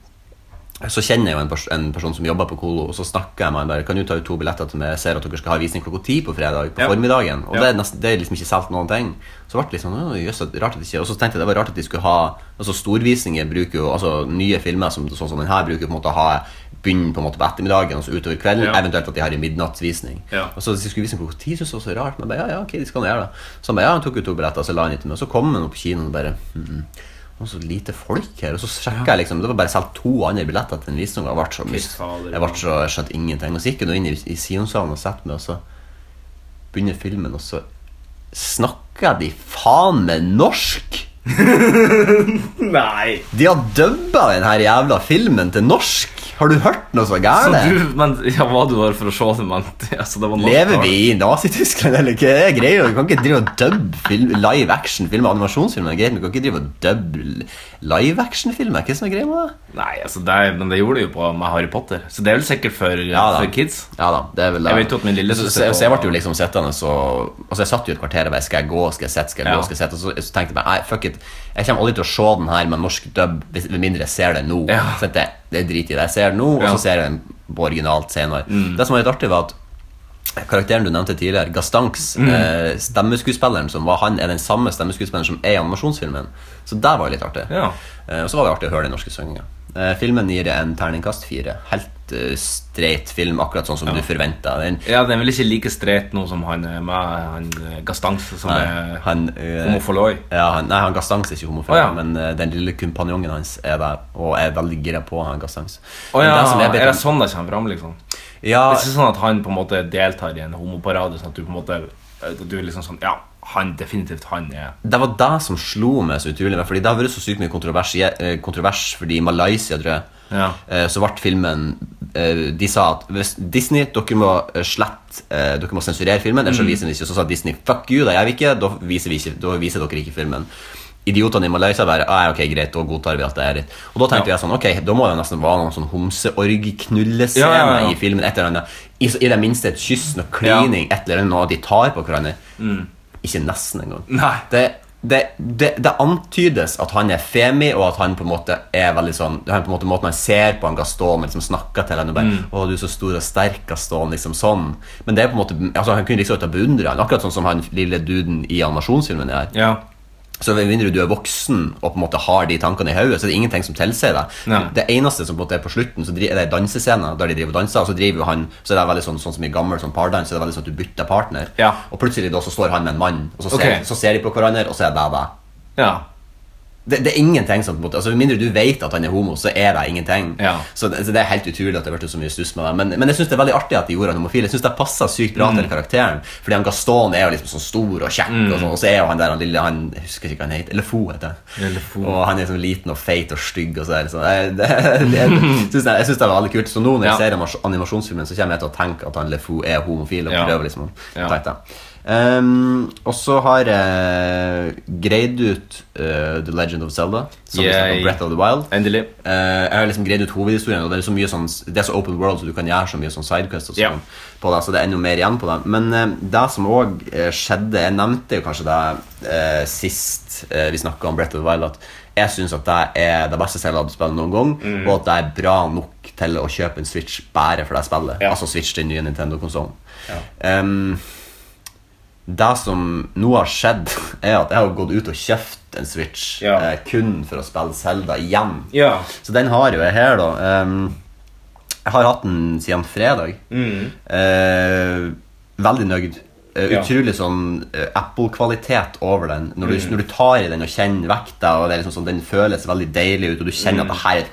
S3: så kjenner jeg jo en, pers en person som jobber på Colo, og så snakker jeg med han der. Kan du ta ut to billetter til meg? Jeg ser at dere skal ha visning klokka ti på fredag. på
S2: Ja.
S3: formiddagen Og
S2: Ja.
S3: det, er nesten, det er liksom ikke solgt noen ting. Så ble det litt sånn, «Å, jøss, at- rart at ikke Og så tenkte jeg det var rart at de skulle ha Altså Storvisninger bruker jo Altså nye filmer som, sånn som den her bruker jo på en måte å ha begynne på en måte på ettermiddagen og så utover kvelden.
S2: Ja.
S3: Eventuelt at de har en midnattsvisning.
S2: Ja.
S3: Og så de skulle vise klokka ti, syntes jeg var så rart. Men jeg bare, ja, ja, ok, de skal gjøre det Så han bare, ja, han tok ut to billetter, så la han ut til meg. Og så kom han opp på kinoen og bare «Mhm, det var så lite folk her. Og så sjekket jeg liksom Det var bare solgt to andre billetter til en visning. og Jeg ble så mist.
S2: fader.
S3: Jeg ble så jeg skjønte ingenting. Og så gikk jeg nå inn i, i Sion-salen og satte meg, og så begynner filmen, og så snakker de faen meg norsk!
S2: Nei!
S3: De har dubba den her jævla filmen til norsk! Har du hørt noe så
S2: Så
S3: gærent?
S2: du, men, ja, var du der for å se det, men (laughs) altså, det var norsk
S3: Lever
S2: tale.
S3: vi i Nazi-Tyskland, eller hva er greia? Du kan ikke drive og dubbe film, live action-filmer, animasjonsfilmer, det er greit, men du kan ikke drive og dubbe l- live action-filmer, hva er det som er greia med det?
S2: Nei, altså, det, men det gjorde det jo på med Harry Potter. Så det er vel sikkert for,
S3: Ja, da.
S2: for kids.
S3: Ja da, det er vel det.
S2: Jeg vet jo at min lille
S3: så,
S2: søster
S3: så, så jeg
S2: på-
S3: ble jo liksom sittende så Altså, jeg satt jo et kvarter og bare Skal jeg gå, skal jeg sitte, skal jeg
S2: Ja.
S3: gå, skal jeg sitte? Og så, så tenkte jeg bare Nei, fuck it. Jeg kommer aldri til å se den her med norsk dub, hvis- med mindre jeg ser det nå.
S2: Ja.
S3: Så det, det er drit i det. Jeg ser det nå, og
S2: Ja. Mm.
S3: så ser jeg den på originalt senere. Det som var litt artig, var at Karakteren du nevnte tidligere, Gastanks,
S2: Mm.
S3: eh, stemmeskuespilleren som var han, er den samme stemmeskuespilleren som er i animasjonsfilmen. Så det var jo litt artig.
S2: Ja.
S3: Eh, og så var det artig å høre den norske sangen. Eh, filmen gir en terningkast fire. Helt eh, streit film, akkurat sånn som du forventa. Den
S2: Ja, den er vel ikke like streit nå som han eh, med han eh, Gastance, som
S3: Nei,
S2: er
S3: han, eh,
S2: homofiloi.
S3: ja, han, nei, han Gastangs er ikke homofil,
S2: Å, ja.
S3: men eh, den lille kompanjongen hans er der, og er veldig gira på han Gastangs.
S2: Å
S3: Men
S2: ja,
S3: det som
S2: er,
S3: jeg bet-
S2: det sånn det kommer fram, liksom?
S3: ja,
S2: Det er ikke sånn at han på en måte deltar i en homoparade, sånn at du på en måte at Du er liksom sånn Ja, han, definitivt han er
S3: Det var det som slo meg så utrolig. Fordi Det har vært så sykt mye kontrovers, i- eh, kontrovers fordi i Malaysia, tror jeg,
S2: Ja.
S3: eh, så ble filmen eh, De sa at hvis Disney, dere må eh, slette eh, Dere må sensurere filmen, ellers så
S2: Mm.
S3: viser vi ikke. Så sa Disney fuck you, det gjør vi ikke, da viser, vi ikke, da viser dere ikke filmen. Idiotene i Malaysia bare ah, ok, greit, da godtar vi at det er litt Og da tenkte
S2: Ja.
S3: jeg sånn, ok, da må det nesten være noen sånn homseorg-knullescener
S2: Ja, ja, ja.
S3: i filmen. et eller annet I, I det minste et kyss, noe klining, et eller annet, noe de tar på hverandre. Ikke nesten engang.
S2: Mm. Nei.
S3: Det, det, det, det antydes at han er femi, og at han på en måte er veldig sånn han på en måte Måten han ser på han Gaston, liksom snakker til han og bare 'Å, du er så stor og sterk, Gaston', liksom sånn. Men det er på en måte Altså han kunne liksom ikke ha beundra han, akkurat sånn som han lille duden i animasjonsfilmen er.
S2: Ja.
S3: Så med mindre du er voksen og på en måte har de tankene i hodet, så er det ingenting som tilsier deg.
S2: Nei.
S3: Det eneste som på en måte er på slutten, så dri- er det en dansescene der de driver og danser, og så driver jo han Så er det veldig sånn, sånn som i gammel sånn pardans, så er det veldig sånn at du bytter partner,
S2: Ja.
S3: og plutselig da så står han med en mann, og så ser,
S2: Ok.
S3: så ser de på hverandre, og så er det det.
S2: Ja.
S3: Det, det er ingenting som på en måte, altså Med mindre du vet at han er homo, så er det ingenting.
S2: Ja.
S3: Så, det, så det er helt utrolig at det har vært så mye stuss med det. Men, men jeg syns det er veldig artig at de gjorde han homofil. Jeg synes det passer sykt bra
S2: Mm.
S3: til karakteren. Fordi han Gaston er jo liksom sånn stor og kjekk, og, sånn, og så er jo han der han lille han, Jeg husker ikke hva han heter. Lefou heter han.
S2: Lefou.
S3: Og han er sånn liten og feit og stygg og så der. Så jeg, det, (laughs) jeg, synes det, jeg syns det er veldig kult. Så nå når jeg
S2: Ja.
S3: ser animas- animasjonsfilmen, så kommer jeg til å tenke at han Lefou er homofil. og
S2: Ja.
S3: prøver liksom å
S2: Ja.
S3: ta etter. Ehm, og så har jeg greid ut eh, The Legend of Zelda. Som vi snakket
S2: Yay.
S3: om Breath of the Wild.
S2: Endelig.
S3: Eh, jeg har liksom greid ut hovedhistorien, og det er så mye sånn Det er så open world, så du kan gjøre så mye sånn sidequests og sånn
S2: Ja.
S3: på det, så det er enda mer igjen på det. Men eh, det som òg skjedde Jeg nevnte jo kanskje det eh, sist eh, vi snakka om Brett of the Wild, at jeg syns at det er det beste selvladespillet noen gang,
S2: Mm.
S3: og at det er bra nok til å kjøpe en Switch bare for det spillet.
S2: Ja.
S3: Altså Switch den nye Nintendo-konsollen. det som nå har skjedd, (laughs) er at jeg har gått ut og kjøpt en Switch
S2: Ja.
S3: eh, kun for å spille Zelda igjen.
S2: Ja.
S3: Så den har jo jeg her, da. Ehm, jeg har hatt den siden fredag. Eh, veldig nøyd. Eh,
S2: Mm. Ja.
S3: utrolig sånn eh, Apple-kvalitet over den. Når du,
S2: Mm.
S3: når du tar i den og kjenner vekta, og det er liksom sånn, den føles veldig deilig ut, og du kjenner at det her er et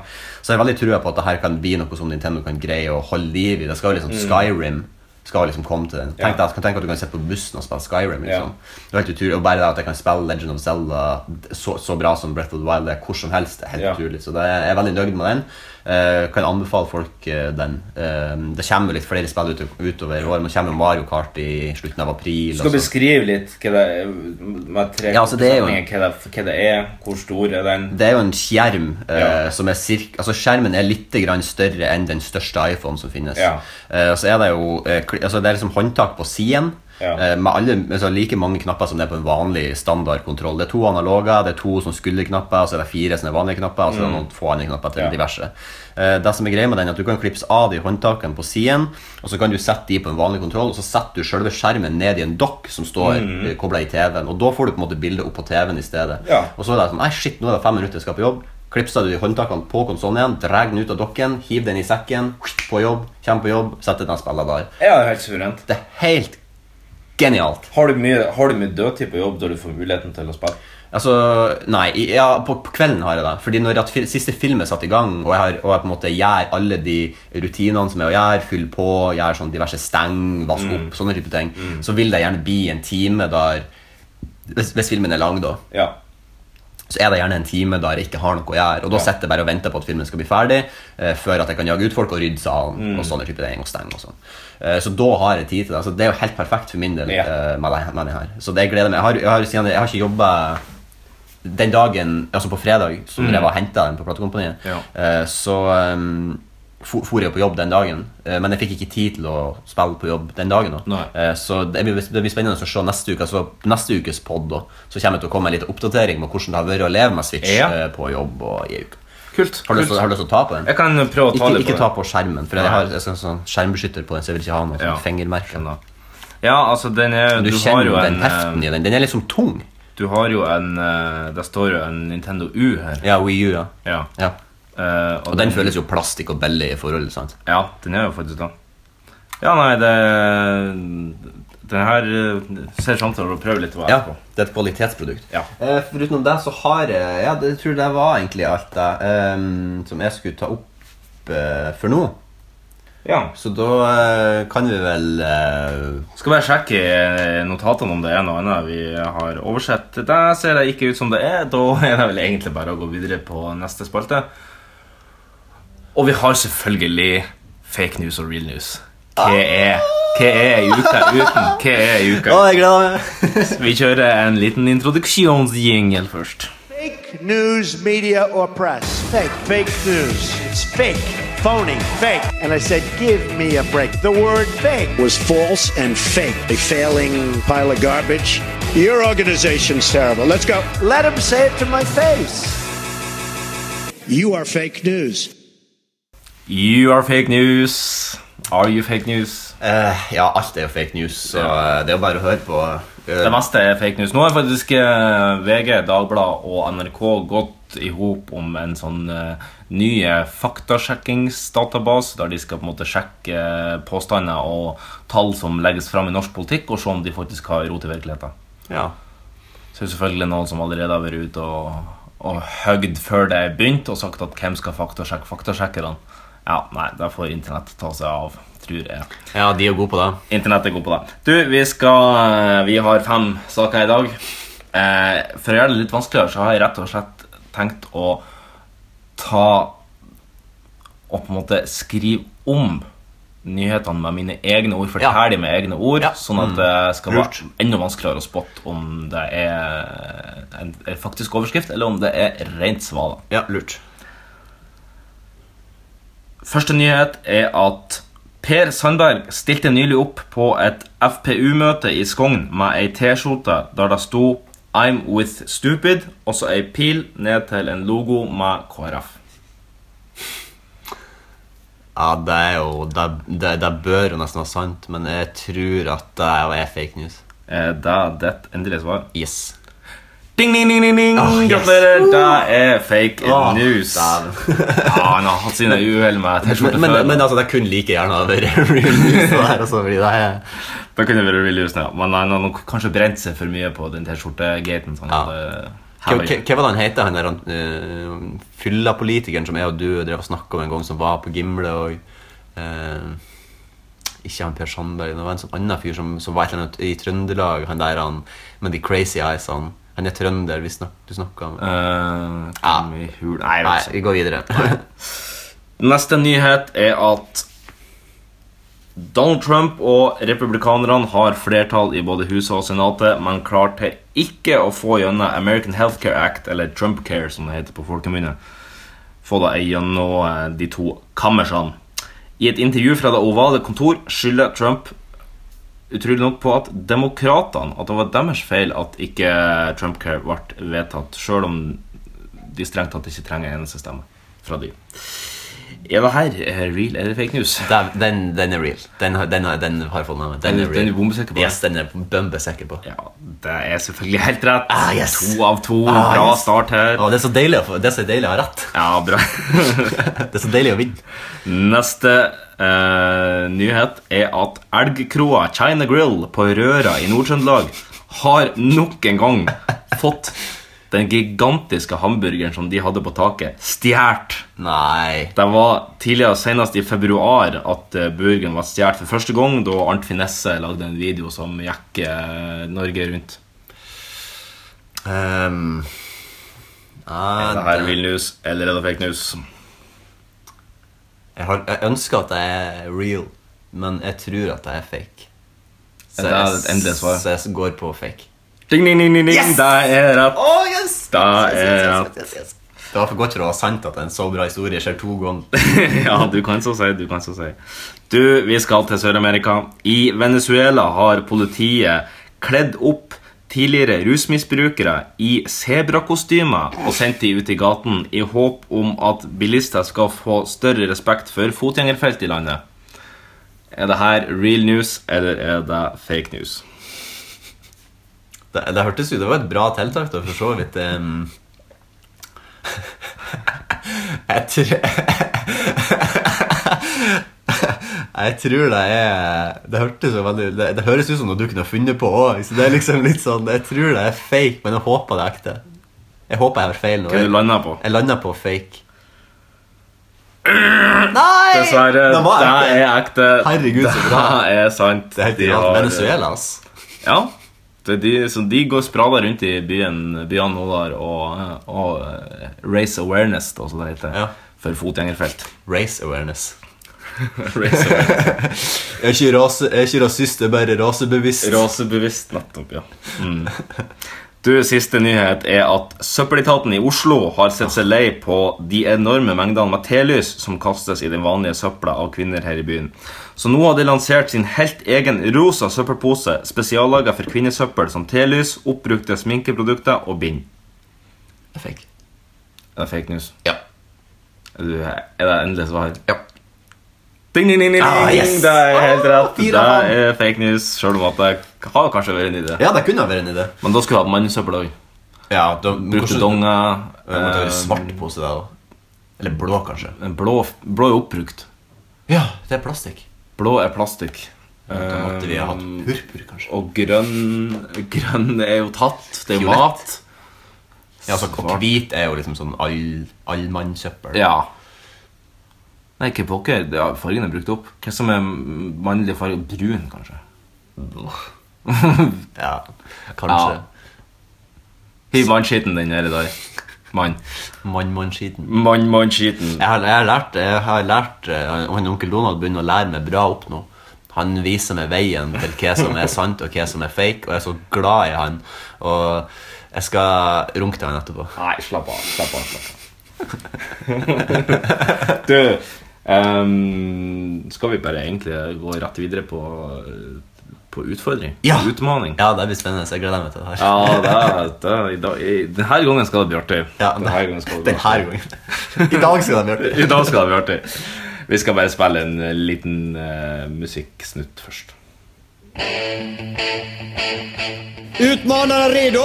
S2: Mm. Ja.
S3: Så jeg har veldig trua på at det her kan bli noe som Nintendo kan greie å holde liv i. Det skal jo liksom
S2: Mm.
S3: Skyrim skal liksom komme til den. Tenk deg, kan tenke at du kan sitte på bussen og spille Skyrim. liksom. Det er helt utrolig, Og bare det at jeg kan spille Legend of Zelda så, så bra som Breath of the Wild, det er hvor som helst, det er helt
S2: Ja.
S3: utrolig. Så det er, jeg er veldig nøyd med den. Eh, kan anbefale folk eh, den. Eh, det kommer jo litt flere spill ut, utover året. Nå kommer jo Mario Kart i slutten av april. altså.
S2: Skal
S3: og
S2: du
S3: så-
S2: beskrive litt hva det er, med tre
S3: Ja, altså, det er jo-
S2: setninger, hva, det, hva det er, hvor stor er den?
S3: Det er jo en skjerm eh,
S2: Ja.
S3: som er cirka Altså Skjermen er litt grann større enn den største iPhonen som finnes.
S2: Ja.
S3: Eh, og så er det jo eh, kl- kli- altså det er liksom håndtak på siden.
S2: Ja.
S3: eh, Med alle, altså like mange knapper som det er på en vanlig standardkontroll. Det er to analoger, det er to sånn skulderknapper, og så er det fire sånne vanlige knapper. Og så er det noen få andre knapper til
S2: Mm. Ja.
S3: diverse. Eh, Det som er greia med den, er at du kan klippes av de håndtakene på siden, og så kan du sette de på en vanlig kontroll, og så setter du selve skjermen ned i en dokk som står mm. kobla i TV-en, og da får du på en måte bildet opp på TV-en i stedet.
S2: Ja.
S3: Og så er det sånn Nei, shit, nå er det fem minutter, jeg skal på jobb. Klipser du de håndtakene på konsollen igjen, drar den ut av dokken, hiver den i sekken, på jobb, kommer på jobb, setter den spiller der.
S2: Ja, det er helt suverent.
S3: Det er helt genialt.
S2: Har du mye, har du mye dødtid på jobb da du får muligheten til å spille?
S3: Altså, nei, i- ja, på, på kvelden har jeg det. Fordi når at fil, siste film er satt i gang, og jeg, har, og jeg på en måte gjør alle de rutinene som er å gjøre, fyller på, gjør sånn diverse steng, vask opp, sånne type ting, så vil det gjerne bli en time der hvis, hvis filmen er lang, da.
S2: Ja.
S3: så er det gjerne en time der jeg ikke har noe å gjøre. Og da
S2: Ja.
S3: sitter jeg bare og venter på at filmen skal bli ferdig, eh, før at jeg kan jage ut folk og rydde salen.
S2: Mm.
S3: og sånne type ting, og stenge og sånn. Eh, så da har jeg tid til det. Så det er jo helt perfekt for min del.
S2: Ja.
S3: eh, med det, med det her. Så det jeg gleder meg. Jeg har, jeg har, siden jeg har ikke jobba den dagen, altså på fredag, som jeg var og henta den på platekompaniet,
S2: Mm. Ja.
S3: eh, så um, for jeg på jobb den dagen, eh, men jeg fikk ikke tid til å spille på jobb den dagen. da.
S2: Nei.
S3: Eh, Så det blir, det blir spennende å se neste uke altså neste ukes pod. da, Så kommer det til å komme en liten oppdatering med hvordan det har vært å leve med Switch
S2: Ja.
S3: eh, på jobb. og i uka.
S2: Kult.
S3: Har du
S2: kult.
S3: lyst til- har du lyst til å ta på den?
S2: Jeg kan prøve å ta
S3: Ikke,
S2: litt
S3: ikke
S2: på
S3: ta
S2: det.
S3: på skjermen, for
S2: Nei.
S3: jeg har jeg skal ha sånn skjermbeskytter på den. så jeg vil ikke ha noe
S2: Ja.
S3: sånn fingermerke.
S2: Ja, altså, den er
S3: Du,
S2: Du, har
S3: kjenner
S2: jo
S3: jo den
S2: en
S3: heften
S2: eh,
S3: i den. Den er liksom tung.
S2: Du har jo en eh, Der står jo en Nintendo U her.
S3: Ja, Wii U, ja.
S2: Ja.
S3: ja.
S2: Eh,
S3: Og den føles jo plastikk og billig i forhold. sant?
S2: Ja, den er jo faktisk det. Ja, nei, det Den her eh, ser fram til å prøve litt å være
S3: Ja,
S2: på.
S3: det er et kvalitetsprodukt.
S2: Ja.
S3: Eh, Foruten det så har jeg Ja, det jeg tror det var egentlig alt det eh, som jeg skulle ta opp eh, for nå.
S2: Ja.
S3: Så da eh, kan vi vel eh,
S2: Skal bare sjekke eh, notatene om det er noe annet vi har oversett. Det ser det ikke ut som det er. Da er det vel egentlig bare å gå videre på neste spalte. Og vi har selvfølgelig fake news og real news. Hva er Hva E er ei uke uten? Hva er ei uke?
S3: jeg gleder meg!
S2: Vi kjører en liten introduksjonsjingle først.
S6: Fake news, media, or press. Fake. Fake news. It's fake. Phony. Fake. And I said, give me a break. The word fake was false and fake. A failing pile of garbage. Your organization's terrible. Let's go. Let him say it to my face. You are fake news.
S2: You are fake news. Are you fake news?
S3: Eh, ja, alt er jo fake news, så eh, det er jo bare å høre på. eh,
S2: Det meste er fake news. Nå har faktisk eh, VG, Dagbladet og NRK gått i hop om en sånn eh, ny eh, faktasjekkingsdatabase, der de skal på en måte sjekke eh, påstander og tall som legges fram i norsk politikk, og se om de faktisk har rot i virkeligheten.
S3: ja.
S2: Så er det selvfølgelig noen som allerede har vært ute og, og høgd før det begynte, og sagt at hvem skal faktasjekke faktasjekkerne? Ja, nei, det får internett ta seg av, tror jeg.
S3: ja, de er jo gode på det.
S2: Internett er god på det. Du, vi skal eh, Vi har fem saker i dag. Eh, for å gjøre det litt vanskeligere, så har jeg rett og slett tenkt å ta Og på en måte skrive om nyhetene med mine egne ord. Fortelle dem med egne ord,
S3: Ja.
S2: sånn at det skal
S3: Lurt.
S2: være enda vanskeligere å spotte om det er en, en faktisk overskrift, eller om det er rent svada.
S3: Ja, lurt.
S2: Første nyhet er at Per Sandberg stilte nylig opp på et FPU-møte i Skogn med ei T-skjorte der det sto 'I'm with stupid', og så ei pil ned til en logo med KrF.
S3: Ja, det er jo Det, det, det bør jo nesten være sant, men jeg tror at det er, er fake news.
S2: Er Eh, det ditt endelige svar?
S3: Yes.
S2: Ding, ding, ding, ding, ding.
S3: Åh, Ah, yes.
S2: Gratulerer! Det er fake
S3: Åh,
S2: news.
S3: dæven.
S2: (laughs) ja, han har hatt sine uhell med T-skjorte
S3: Men, men,
S2: før.
S3: men altså, det kunne like gjerne ha (laughs) vært real news. Det her, altså, fordi det er
S2: Da kunne det vært real news, ja. Men han har nok kanskje brent seg for mye på den T-skjorte-gaten. sånn eh, som han
S3: Ja.
S2: hadde
S3: Hva
S2: hevet
S3: hva- hva var det han heter, han der uh, fylla-politikeren som jeg og du drev og snakka om en gang, som var på Gimle og eh, Ikke han Per Sandberg, det var en sånn annen fyr som, som var et eller annet i Trøndelag, han der han med de crazy eyesene. Han er trønder, vi snak, du snakka om
S2: Eh,
S3: Ja.
S2: kan vi hul- Nei,
S3: Ah. Nei,
S2: vent.
S3: vi går videre.
S2: Neste nyhet er at Donald Trump og republikanerne har flertall i både huset og senatet, men klarte ikke å få gjennom American Healthcare Act, eller Trump Care, som det heter på folkemunne. Få det gjennom eh, de to kammersene. I et intervju fra Det ovale kontor skylder Trump utrolig nok på at demokratene At det var deres feil at ikke Trumpcare ble vedtatt, sjøl om de strengt tatt ikke trenger en eneste stemme fra de. Er det her eh, real eller fake news?
S3: (laughs) Den, den, den er real. Den, har- den, har- den har jeg fått med meg. Den
S2: Den-
S3: er real.
S2: den er du bombesikker på?
S3: Yes, den er jeg bombesikker på.
S2: Ja, det er selvfølgelig helt rett.
S3: Ah, yes.
S2: To av to.
S3: Ah,
S2: bra
S3: yes.
S2: start her.
S3: Å, det er så deilig å få Det er så deilig å ha rett.
S2: Ja, bra. (laughs)
S3: Det er så deilig å vinne.
S2: Neste eh, nyhet er at elgkroa China Grill på Røra i Nord-Trøndelag har nok en gang fått den gigantiske hamburgeren som de hadde på taket, stjålet.
S3: Nei.
S2: Det var tidligere senest i februar at eh, burgeren var stjålet for første gang, da Arnt Finesse lagde en video som gikk eh, Norge rundt.
S3: Ehm, Ah, nei,
S2: Er det her real news, eller er det fake news?
S3: jeg, har, jeg ønsker at jeg er real, men jeg tror at jeg er fake. Så
S2: Det er
S3: jeg-
S2: et endelig svar.
S3: Så jeg går på fake.
S2: Ding, ding, ding, ding, ding. Det er rett.
S3: Oh, yes!
S2: Da
S3: Yes, yes,
S2: er
S3: yes, yes, yes, yes. Det var for godt til å være sant at en så bra historie skjer to ganger.
S2: (laughs) ja, du kan så si, du kan så si. Du, vi skal til Sør-Amerika. I Venezuela har politiet kledd opp tidligere rusmisbrukere i sebrakostymer og sendt de ut i gaten i håp om at bilister skal få større respekt for fotgjengerfelt i landet. Er det her real news, eller er det fake news?
S3: Det, det hørtes ut, det var et bra tiltak da, for så vidt. ehm. (laughs) jeg tror (laughs) Jeg tror det er Det hørtes jo veldig det, det høres ut som noe du kunne ha funnet på òg. Så det er liksom litt sånn Jeg tror det er fake, men jeg håper det er ekte. Jeg håper jeg har feil nå.
S2: Hva er du landa på?
S3: Jeg landa på fake. Nei!
S2: Dessverre,
S3: Den var
S2: det
S3: ekte.
S2: er ekte.
S3: Herregud, så bra.
S2: Det er sant.
S3: Det er helt
S2: De
S3: genialt.
S2: har-
S3: Venezuela, ass.
S2: Ja. Det er de, så de går sprada rundt i byen, byene nå der og, og eh, raise awareness, da, som det heter,
S3: Ja.
S2: for fotgjengerfelt.
S3: Race awareness.
S2: (laughs) raise awareness.
S3: Jeg er ikke, rase, jeg er ikke rasist, jeg er bare rasebevisst.
S2: Rasebevisst, nettopp, ja. Mm. Du, Siste nyhet er at søppeletaten i Oslo har sett seg lei på de enorme mengdene med telys som kastes i den vanlige søpla av kvinner her i byen. Så nå har de lansert sin helt egen rosa søppelpose, spesiallaga for kvinnesøppel som telys, oppbrukte sminkeprodukter og bind.
S3: Jeg fikk.
S2: Er det fake news?
S3: Ja.
S2: Er du- er det endelig svar?
S3: Ja.
S2: Ding, ding, ding, ding,
S3: Ah,
S2: ding.
S3: yes.
S2: Det er helt
S3: Ah,
S2: rett.
S3: fire
S2: Det
S3: av fem.
S2: er fake news, selv om at det har kanskje vært en idé.
S3: ja, det kunne ha vært en idé.
S2: Men da skulle du hatt mannesøppel òg.
S3: Ja, da, men
S2: Brukte
S3: hvordan-
S2: donger.
S3: Det måtte være
S2: eh,
S3: svart pose der, da. Eller blå, kanskje.
S2: en Blå, blå er oppbrukt.
S3: Ja, det er plastikk.
S2: Blå er plastikk.
S3: Da måtte vi ha hatt
S2: Eh,
S3: purpur, kanskje.
S2: Og grønn Grønn er jo tatt. Det er jo
S3: Fiolett.
S2: mat.
S3: Ja, altså, og Hvit er jo liksom sånn all- allmannsøppel.
S2: Ja. Nei, hva pokker? Det er- Fargen er brukt opp. Hva som er mannlig farge? Brun, kanskje?
S3: (laughs) Ja, Kanskje.
S2: Ja. Hiv mannskitten den nedi der. Mann.
S3: Mann-mann-skiten.
S2: Mann, mann, skiten.
S3: Jeg har, jeg har lært, jeg har lært eh, han Onkel Donald begynner å lære meg bra opp nå. Han viser meg veien til hva som er sant, og hva som er fake, og jeg er så glad i han. Og jeg skal runke til han etterpå.
S2: Nei, slapp av. Slapp av. slapp av (laughs) Du, ehm, skal vi bare egentlig gå rett videre på, på utfordring?
S3: Ja.
S2: Utmaning?
S3: Ja, det blir spennende. Jeg gleder meg til det her.
S2: Ja, det, er- det, er- i dag- i- denne gangen skal det bli artig.
S3: Ja,
S2: Denne gangen skal det bli
S3: den her
S2: artig.
S3: gangen. (laughs) I dag skal de gjøre det.
S2: I dag skal det bli artig. Vi skal bare spille en liten eh, musikksnutt først.
S7: Utmanarna redo?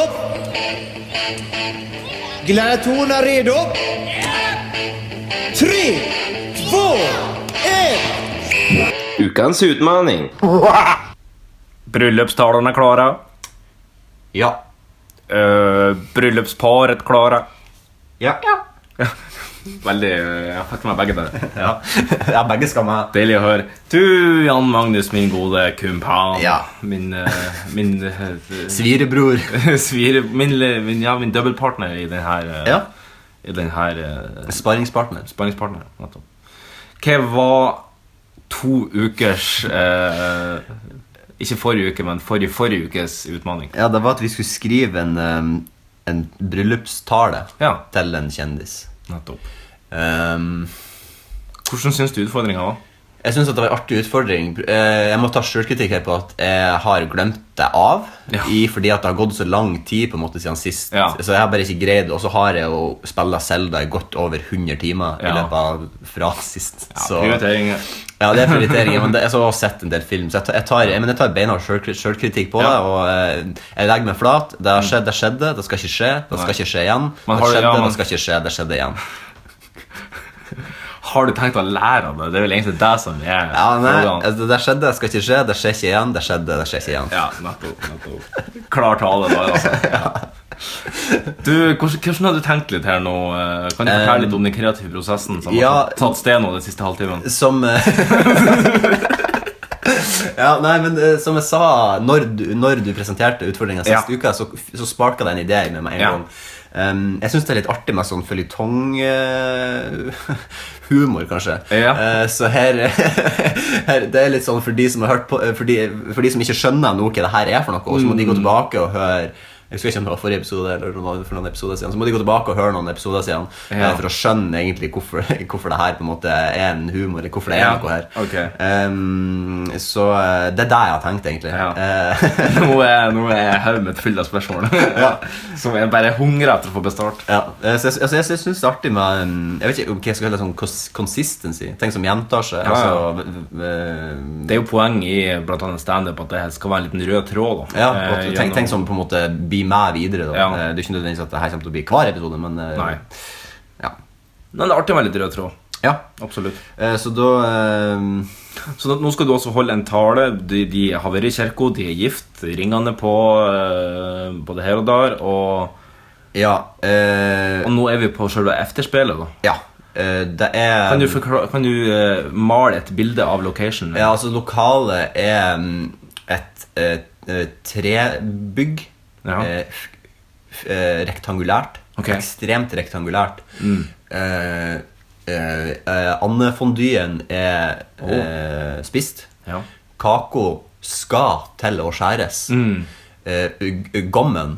S7: Gladiatorerna redo? Tre, två, ett!
S2: Ukens utmaning. Bryllupstalene er klare.
S3: Ja.
S2: Uh, bryllupsparet klare.
S3: Ja. ja.
S2: Veldig eh, Jeg fikk med begge der.
S3: ja begge skal med.
S2: Deilig å høre. Du, Jan Magnus, min gode kumpan.
S3: Ja.
S2: Min, eh, min eh, (laughs)
S3: Svirebror.
S2: svire... Min, le- min, ja, min dobbeltpartner i den her eh,
S3: Ja.
S2: I den her eh,
S3: Sparringspartner.
S2: spenningspartner. nettopp. Hva var to ukers eh, Ikke forrige uke, men forrige forrige ukes utfordring?
S3: Ja, det var at vi skulle skrive en, um, en bryllupstale
S2: Ja.
S3: til en kjendis.
S2: Nettopp.
S3: Um,
S2: Hvordan syns du utfordringa var?
S3: Jeg syns det var en artig utfordring. Eh, Jeg må ta sjølkritikk her på at jeg har glemt det av.
S2: Ja.
S3: I, fordi at det har gått så lang tid på en måte siden sist.
S2: Ja.
S3: Så jeg har bare ikke greid det. Og så har jeg jo spilla Selda i godt over 100 timer i
S2: Ja.
S3: løpet av fra sist. Så-
S2: Prioriteringer.
S3: ja, det er
S2: (laughs)
S3: prioriteringer, men det, altså, jeg har også sett en del film. Så jeg tar, jeg tar, jeg, men jeg tar beina sjølkritikk på det.
S2: Ja. Mm.
S3: Og eh, jeg legger meg flat. Det har skjedd, det skjedde, det skal ikke skje. Det
S2: Nei.
S3: skal ikke skje igjen.
S2: Men har
S3: Det
S2: du-
S3: skjedde,
S2: ja, men-
S3: det skal ikke skje, det skjedde
S2: (laughs)
S3: igjen.
S2: Har du tenkt å lære av det? Det er vel egentlig det som er
S3: Ja, nei,
S2: frågan.
S3: altså, det skjedde, det skal ikke skje, det skjer ikke igjen, det skjedde, det skjer ikke igjen.
S2: Ja, nettopp. nettopp. Klar tale, da.
S3: (laughs)
S2: Altså. Du, hvordan, hvordan har du tenkt litt her nå? eh? Kan du fortelle litt om den kreative prosessen som
S3: ja.
S2: har tatt sted nå den siste halvtimen? (laughs)
S3: Som eh, (laughs) Ja, nei, men eh, som jeg sa, når du, når du presenterte utfordringa sist
S2: Ja.
S3: uke, så, så sparka det en idé med meg en
S2: Ja.
S3: gang. Um, jeg syns det er litt artig med sånn (laughs) føljetong-humor, kanskje.
S2: Ja.
S3: Eh, så her, (laughs) her Det er litt sånn for de som har hørt på eh, for de, for de som ikke skjønner nå hva det her er for noe, og så må de gå
S2: Mm.
S3: tilbake og høre jeg husker ikke om det var forrige episode eller noen, for noen episoder siden. Så må de gå tilbake og høre noen episoder siden
S2: Ja.
S3: eh, for å skjønne egentlig hvorfor, (laughs) hvorfor det her på en måte er en humor, eller hvorfor det er
S2: Ja,
S3: noe her.
S2: ok.
S3: Ehm, så eh, det er det jeg har tenkt, egentlig.
S2: Ja.
S3: Eh, (laughs)
S2: Nå er, nå er hodet mitt fullt av spørsmål (laughs) som jeg bare hungrer etter å få bestart.
S3: ja. Eh, Så jeg, altså, jeg, jeg syns det er artig med mm, Jeg vet ikke om hva jeg skal kalle det sånn kons- consistency. Ting som gjentar seg.
S2: Ja, ja.
S3: Altså, v- v-
S2: Det er jo poeng i blant annet standup at det skal være en liten rød tråd. da
S3: ja,
S2: Eh,
S3: og ting,
S2: gjennom-
S3: ting som på en måte blir med videre. Da.
S2: Ja.
S3: Eh, Det er ikke nødvendigvis at det her kommer til å bli hver episode, men eh,
S2: Nei.
S3: Ja.
S2: Men det er artig med litt rød tråd.
S3: ja.
S2: Absolutt.
S3: Eh, Så da eh,
S2: Så nå- nå skal du også holde en tale. De, de havner i kirka, de er gift, ringene på eh, både her og der. Og,
S3: Ja. eh,
S2: og nå er vi på selve efterspillet. da
S3: ja. Eh, Det er
S2: Kan du, forkla- kan du eh, male et bilde av location?
S3: Ja, altså lokalet er mm, et, eh, eh, trebygg.
S2: Ja.
S3: eh, f- f- eh, rektangulært.
S2: Ok. Mm.
S3: Ekstremt rektangulært. Eh, eh, eh, Andefondyen er eh, spist.
S2: Oh. Ja.
S3: Kako skal til å skjæres.
S2: Mm.
S3: Eh, g- gommen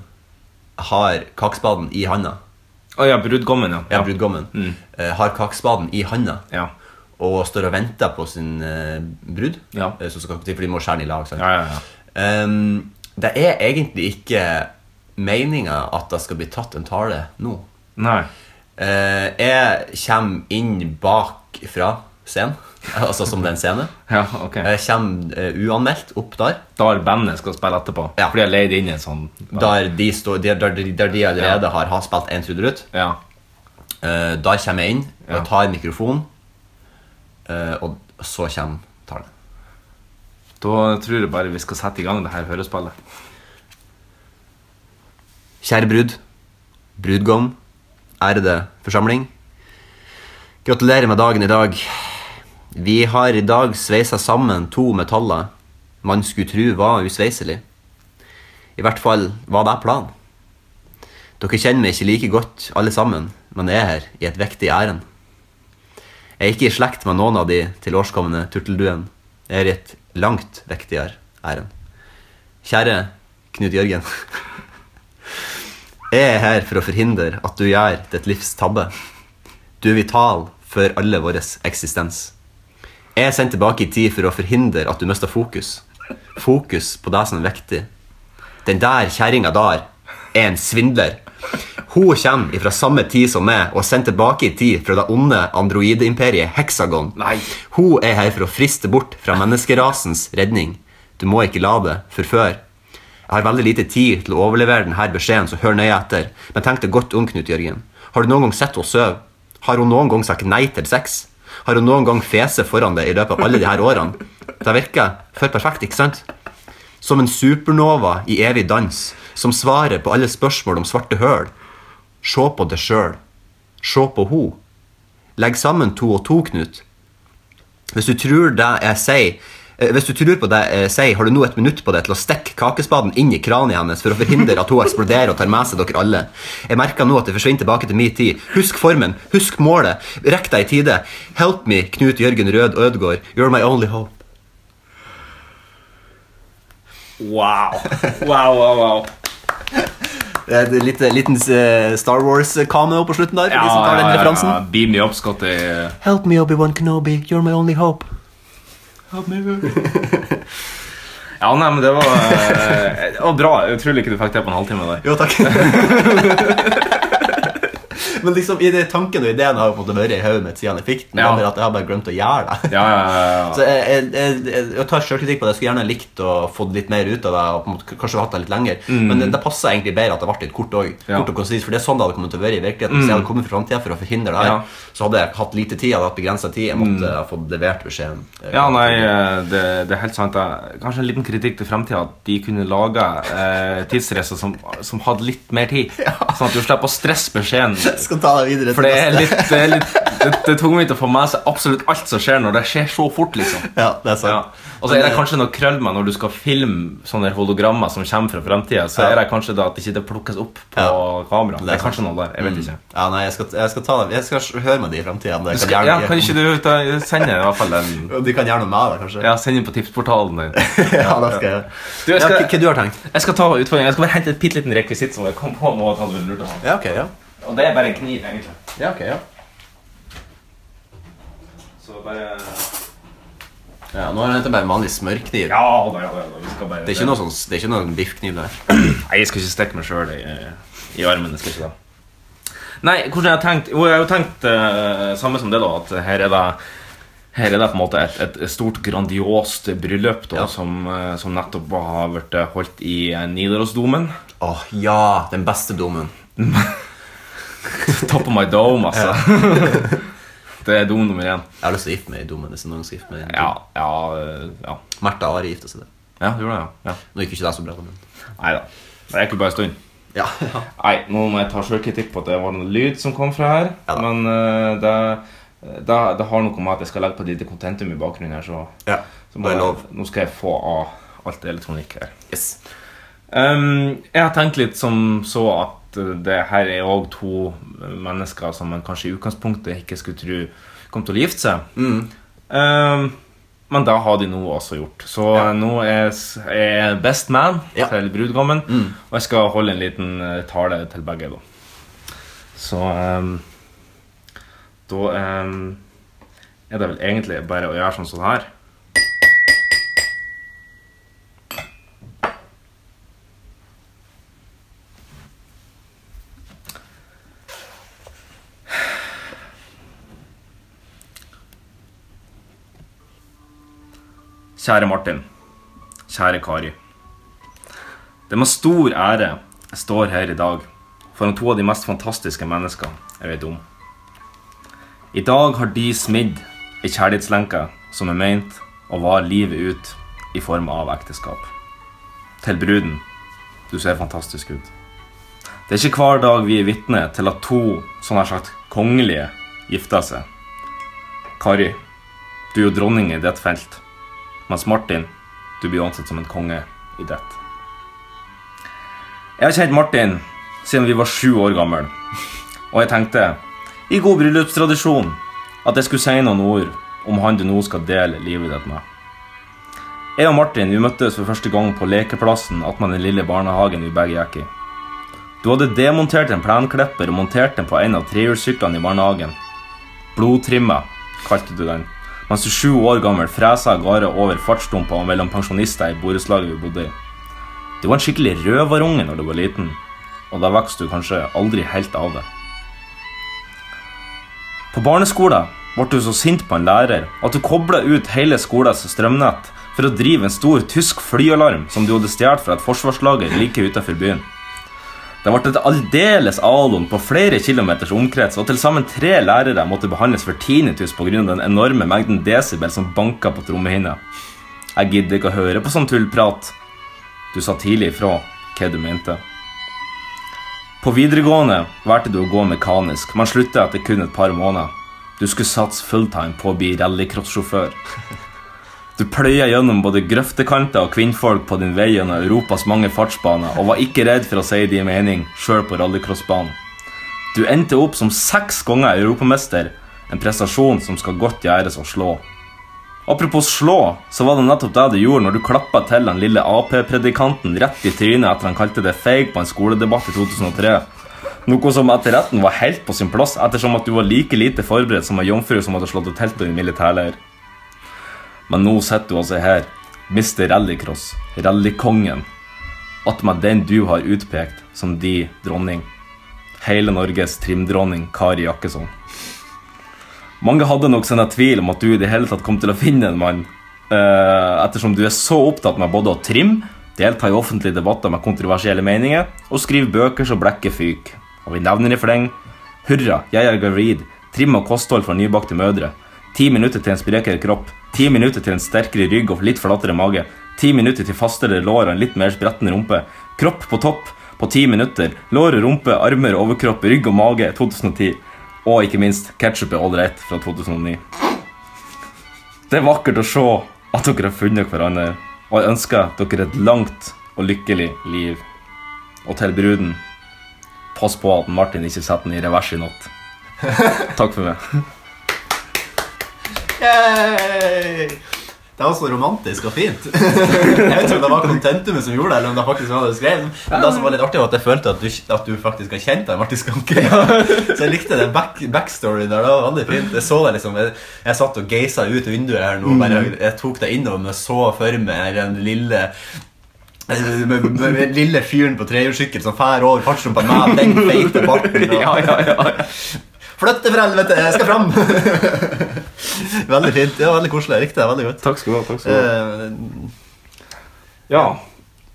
S3: har kakespaden i handa.
S2: Å ja, brudgommen, ja. Mm.
S3: Ja, brudgommen. Eh, har kakespaden i handa
S2: Ja.
S3: og står og venter på sin eh, brud,
S2: Ja.
S3: eh, som skal komme til, for de må skjære den i lag. sant?
S2: Ja, ja, ja.
S3: Ehm, det er egentlig ikke meninga at det skal bli tatt en tale nå.
S2: Nei.
S3: Eh, jeg kommer inn bak fra scenen, (laughs) altså som det er en scene.
S2: Ja, ok
S3: Jeg kommer eh, uanmeldt opp der,
S2: Der bandet skal spille etterpå.
S3: Ja.
S2: For de har leid inn en sånn
S3: der de, står, der, der, der de allerede har, har spilt en trudelutt.
S2: Ja.
S3: Eh, der kommer jeg inn og
S2: Ja.
S3: tar mikrofonen, eh, og så kommer talen.
S2: Da tror jeg bare vi skal sette i gang det her hørespillet.
S3: Kjære brud, brudgom, ærede forsamling. Gratulerer med dagen i dag. Vi har i dag sveisa sammen to metaller man skulle tru var usveiselig. I hvert fall var det planen. Dere kjenner meg ikke like godt alle sammen, men jeg er her i et viktig ærend. Jeg er ikke i slekt med noen av de tilårskomne turtelduen. Jeg er i et langt viktigere ærend. Kjære Knut Jørgen. (laughs) Jeg er her for å forhindre at du gjør ditt livs tabbe. Du er vital for alle vår eksistens. Jeg er sendt tilbake i tid for å forhindre at du mister fokus. Fokus på det som er viktig. Den der kjerringa der er en svindler. Hun kommer fra samme tid som meg og er sendt tilbake i tid fra det onde androideimperiet Hexagon.
S2: Nei.
S3: Hun er her for å friste bort fra menneskerasens redning. Du må ikke la det forføre. Jeg har veldig lite tid til å overlevere denne beskjeden, så hør nøye etter. Men tenk deg godt om, Knut Jørgen. Har du noen gang sett henne sove? Har hun noen gang sagt nei til sex? Har hun noen gang fese foran deg i løpet av alle de her årene? Det virker for perfekt, ikke sant? Som en supernova i evig dans, som svarer på alle spørsmål om svarte høl. Se på deg sjøl. Se på ho. Legg sammen to og to, Knut. Hvis du tror det jeg sier eh, hvis du tror på det jeg sier, har du nå et minutt på deg til å stikke kakespaden inn i kraniet hennes for å forhindre at hun eksploderer og tar med seg dere alle. Jeg merker nå at det forsvinner tilbake til min tid. Husk formen, husk målet. Rekk deg i tide. Help me, Knut Jørgen Rød Ødgaard. You're my only hope.
S2: Wow. (laughs) Wow, wow, wow.
S3: Det er en liten, liten eh, Star Wars-cameo på slutten der, for de som tar den referansen.
S2: Beam me up, Scotty.
S3: Help me, Obi-Wan Kenobi. You're my only hope.
S2: Ja, nei, men det var, eh, det var bra. Utrolig ikke du fikk det på en halvtime. der
S3: Jo, takk. (laughs) Men liksom, i det tanken og ideen har jo på en måte vært i hodet mitt siden jeg fikk den.
S2: Ja.
S3: bare At jeg har bare glemt å gjøre det.
S2: Ja, ja, ja,
S3: Så jeg, jeg, jeg, jeg tar selvkritikk på det. Jeg skulle gjerne likt å få litt mer ut av det. Og på en måte, k- kanskje hatt det litt lenger Men det, det passer egentlig bedre at det ble litt kort òg.
S2: Mm. Ja. Mm.
S3: Kort og konsist, for det er sånn det hadde kommet til å være i virkeligheten. Hvis jeg hadde kommet fra framtida for å forhindre det her,
S2: Ja. Mm.
S3: så hadde jeg hatt lite tid. Jeg hadde hatt begrenset tid. Jeg måtte ha fått levert beskjeden. eh,
S2: Ja, nei, eh, det, det er helt sant. eh. Kanskje en liten kritikk til fremtiden At de kunne laga eh, tidsreiser som, som hadde litt mer tid.
S3: (laughs)
S2: Sånn at du slipper å stresse beskjeden.
S3: Jeg skal ta deg videre. til
S2: For det er
S3: neste.
S2: litt, det er litt det, det er tungvint å få med seg absolutt alt som skjer, når det skjer så fort. liksom
S3: (laughs) Ja, det er sant.
S2: ja. Og så er
S3: eh,
S2: det kanskje noe krøll med når du skal filme sånne hologrammer som kommer fra fremtiden Så
S3: Ja.
S2: er det kanskje da at ikke det plukkes opp på
S3: Ja.
S2: kamera. Det
S3: Det er Mm.
S2: er kanskje noe der, jeg vet ikke
S3: Ja, nei, jeg skal, jeg skal, ta, jeg skal høre med de i framtida.
S2: Mm. du skal, ja, Kan ikke du ta, sende i hvert fall en
S3: De kan gjøre noe med det, kanskje.
S2: Ja, send inn på tipsportalen din.
S3: (laughs) Ja, det skal jeg gjøre.
S2: Du, jeg skal-
S3: Ja, hva- Hva du har tenkt?
S2: Jeg skal ta utfordringen. Jeg skal bare hente et bitte liten rekvisitt som jeg kom på nå. at han ville lurt av.
S3: Ja, ok, ja.
S2: Og det er bare en kniv, egentlig.
S3: Ja, ok, ja.
S2: Så bare
S3: ja nå har jeg hentet meg en vanlig smørkniv.
S2: Ja da, ja da. ja da. Vi skal bare
S3: Det er ikke noe sånn, det er ikke noen biffkniv der.
S2: Nei, jeg skal ikke stikke meg sjøl i, eh, i armen. jeg skal ikke det. Nei, hvordan jeg har tenkt Jo, jeg har jo tenkt eh, samme som det, da. At her er det her er det på en måte et, et stort, grandiost bryllup da,
S3: Ja.
S2: som, eh, som nettopp har vært holdt i eh, Nidarosdomen.
S3: Åh, ja, den beste domen.
S2: Top of my dome, altså. (laughs) det er dom nummer én.
S3: Jeg har lyst til å gifte meg i domen hvis noen skal gifte meg i en
S2: Ja,
S3: dom.
S2: ja, eh, ja.
S3: Martha Ari gifta seg der.
S2: ja du gjorde det, ja. ja.
S3: Nå gikk ikke det så bra, men...
S2: Nei da. Det er ikke bare en stund.
S3: Ja.
S2: Nei, nå må jeg ta sjølkritikk på at det var noe lyd som kom fra her.
S3: Ja da.
S2: men eh, det, det, det har noe med at jeg skal legge på et lite kontentum i bakgrunnen her, så,
S3: Ja,
S2: så
S3: det
S2: må
S3: er
S2: jeg,
S3: lov.
S2: nå skal jeg få av alt elektronikk her.
S3: Yes.
S2: Ehm, jeg har tenkt litt som så at eh, det her er òg to eh, mennesker som man kanskje i utgangspunktet ikke skulle tro kom til å gifte seg. Ehm, men det har de nå også gjort. Så eh, nå er s- er jeg best man
S3: Ja.
S2: til brudgommen. Og jeg skal holde en liten eh, tale til begge, da. Så ehm, da ehm, er det vel egentlig bare å gjøre sånn som det her. Kjære Martin. Kjære Kari. Det er med stor ære jeg står her i dag foran to av de mest fantastiske mennesker jeg vet om. I dag har de smidd ei kjærlighetslenke som er meint å vare livet ut i form av ekteskap. Til bruden. Du ser fantastisk ut. Det er ikke hver dag vi er vitne til at to sånn her sagt kongelige gifter seg. Kari, du er jo dronning i ditt felt. Mens Martin, du blir ansett som en konge i dett. Jeg har kjent Martin siden vi var sju år gammel. Og jeg tenkte, i god bryllupstradisjon, at jeg skulle si noen ord om han du nå skal dele livet ditt med. Jeg og Martin vi møttes for første gang på lekeplassen attmed den lille barnehagen vi begge gikk i. Du hadde demontert en plenklipper og montert den på en av trehjulssyklene i barnehagen. Blodtrimma, kalte du den. Mens du sju år gammel fresa av gårde over fartsdumpa og mellom pensjonister i borettslaget vi bodde i. Du var en skikkelig røverunge når du var liten, og da vokste du kanskje aldri helt av det. På barneskolen ble du så sint på en lærer at du kobla ut hele skolens strømnett for å drive en stor tysk flyalarm som du hadde stjålet fra et forsvarslager like utenfor byen. Det ble et aldeles alon på flere kilometers omkrets, og til sammen tre lærere måtte behandles for tinnitus pga. den enorme mengden desibel som banka på trommehinna. Jeg gidder ikke å høre på sånn tullprat. Du sa tidlig ifra hva du mente. På videregående valgte du å gå mekanisk, men slutta etter kun et par måneder. Du skulle satse fulltime på å bli rallycrossjåfør. Du pløya gjennom både grøftekanter og kvinnfolk på din vei gjennom Europas mange fartsbaner, og var ikke redd for å si din mening, sjøl på rallycrossbanen. Du endte opp som seks ganger europamester, en prestasjon som skal godt gjøres å slå. Apropos slå, så var det nettopp det du gjorde når du klappa til den lille Ap-predikanten rett i trynet etter han kalte det feig på en skoledebatt i 2003. Noe som etter retten var helt på sin plass, ettersom at du var like lite forberedt som ei jomfru som hadde slått et telt i en militærleir. Men nå sitter du altså her, Mr. Rallycross, rallykongen. Attmed den du har utpekt som de dronning. Hele Norges trimdronning Kari Jakkesson. Mange hadde nok sine tvil om at du i det hele tatt kom til å finne en mann. Eh, ettersom du er så opptatt med både å trimme, delta i offentlige debatter med kontroversielle meninger og skrive bøker så blekket fyker. Og vi nevner i fleng Hurra, jeg er gravid. Trim og kosthold for nybakte mødre. Ti minutter til en sprekere kropp. Ti minutter til en sterkere rygg og litt forlattere mage. Ti minutter til fastere lår og en litt mer spretten rumpe. Kropp på topp på ti minutter. Lår og rumpe, armer, overkropp, rygg og mage 2010. Og ikke minst ketchup er all right fra 2009. Det er vakkert å se at dere har funnet hverandre, og jeg ønsker dere et langt og lykkelig liv. Og til bruden Pass på at Martin ikke setter den i revers i natt. Takk for meg.
S3: Yay! Det var så romantisk og fint. (laughs) Jeg vet ikke om det var kontentumet som gjorde det, eller om det faktisk var det du skrev. Men det som var litt artig, var at jeg følte at du, at du faktisk har kjent deg, Martin Skanke. (laughs) Så jeg likte den back, backstoryen der. Det var veldig fint. Jeg så deg liksom Jeg, jeg satt og geisa ut vinduet her nå. Bare, jeg tok deg innover og så for meg den lille eh, med, med, med den lille fyren på trehjulssykkel som fær over fartsrumpa med den feite barten.
S2: (laughs)
S3: og- Flytte for helvete, jeg skal fram! (laughs) veldig fint. ja, Veldig koselig. Jeg likte det veldig godt.
S2: Takk skal du ha. takk skal du ha.
S3: Eh,
S2: Ja,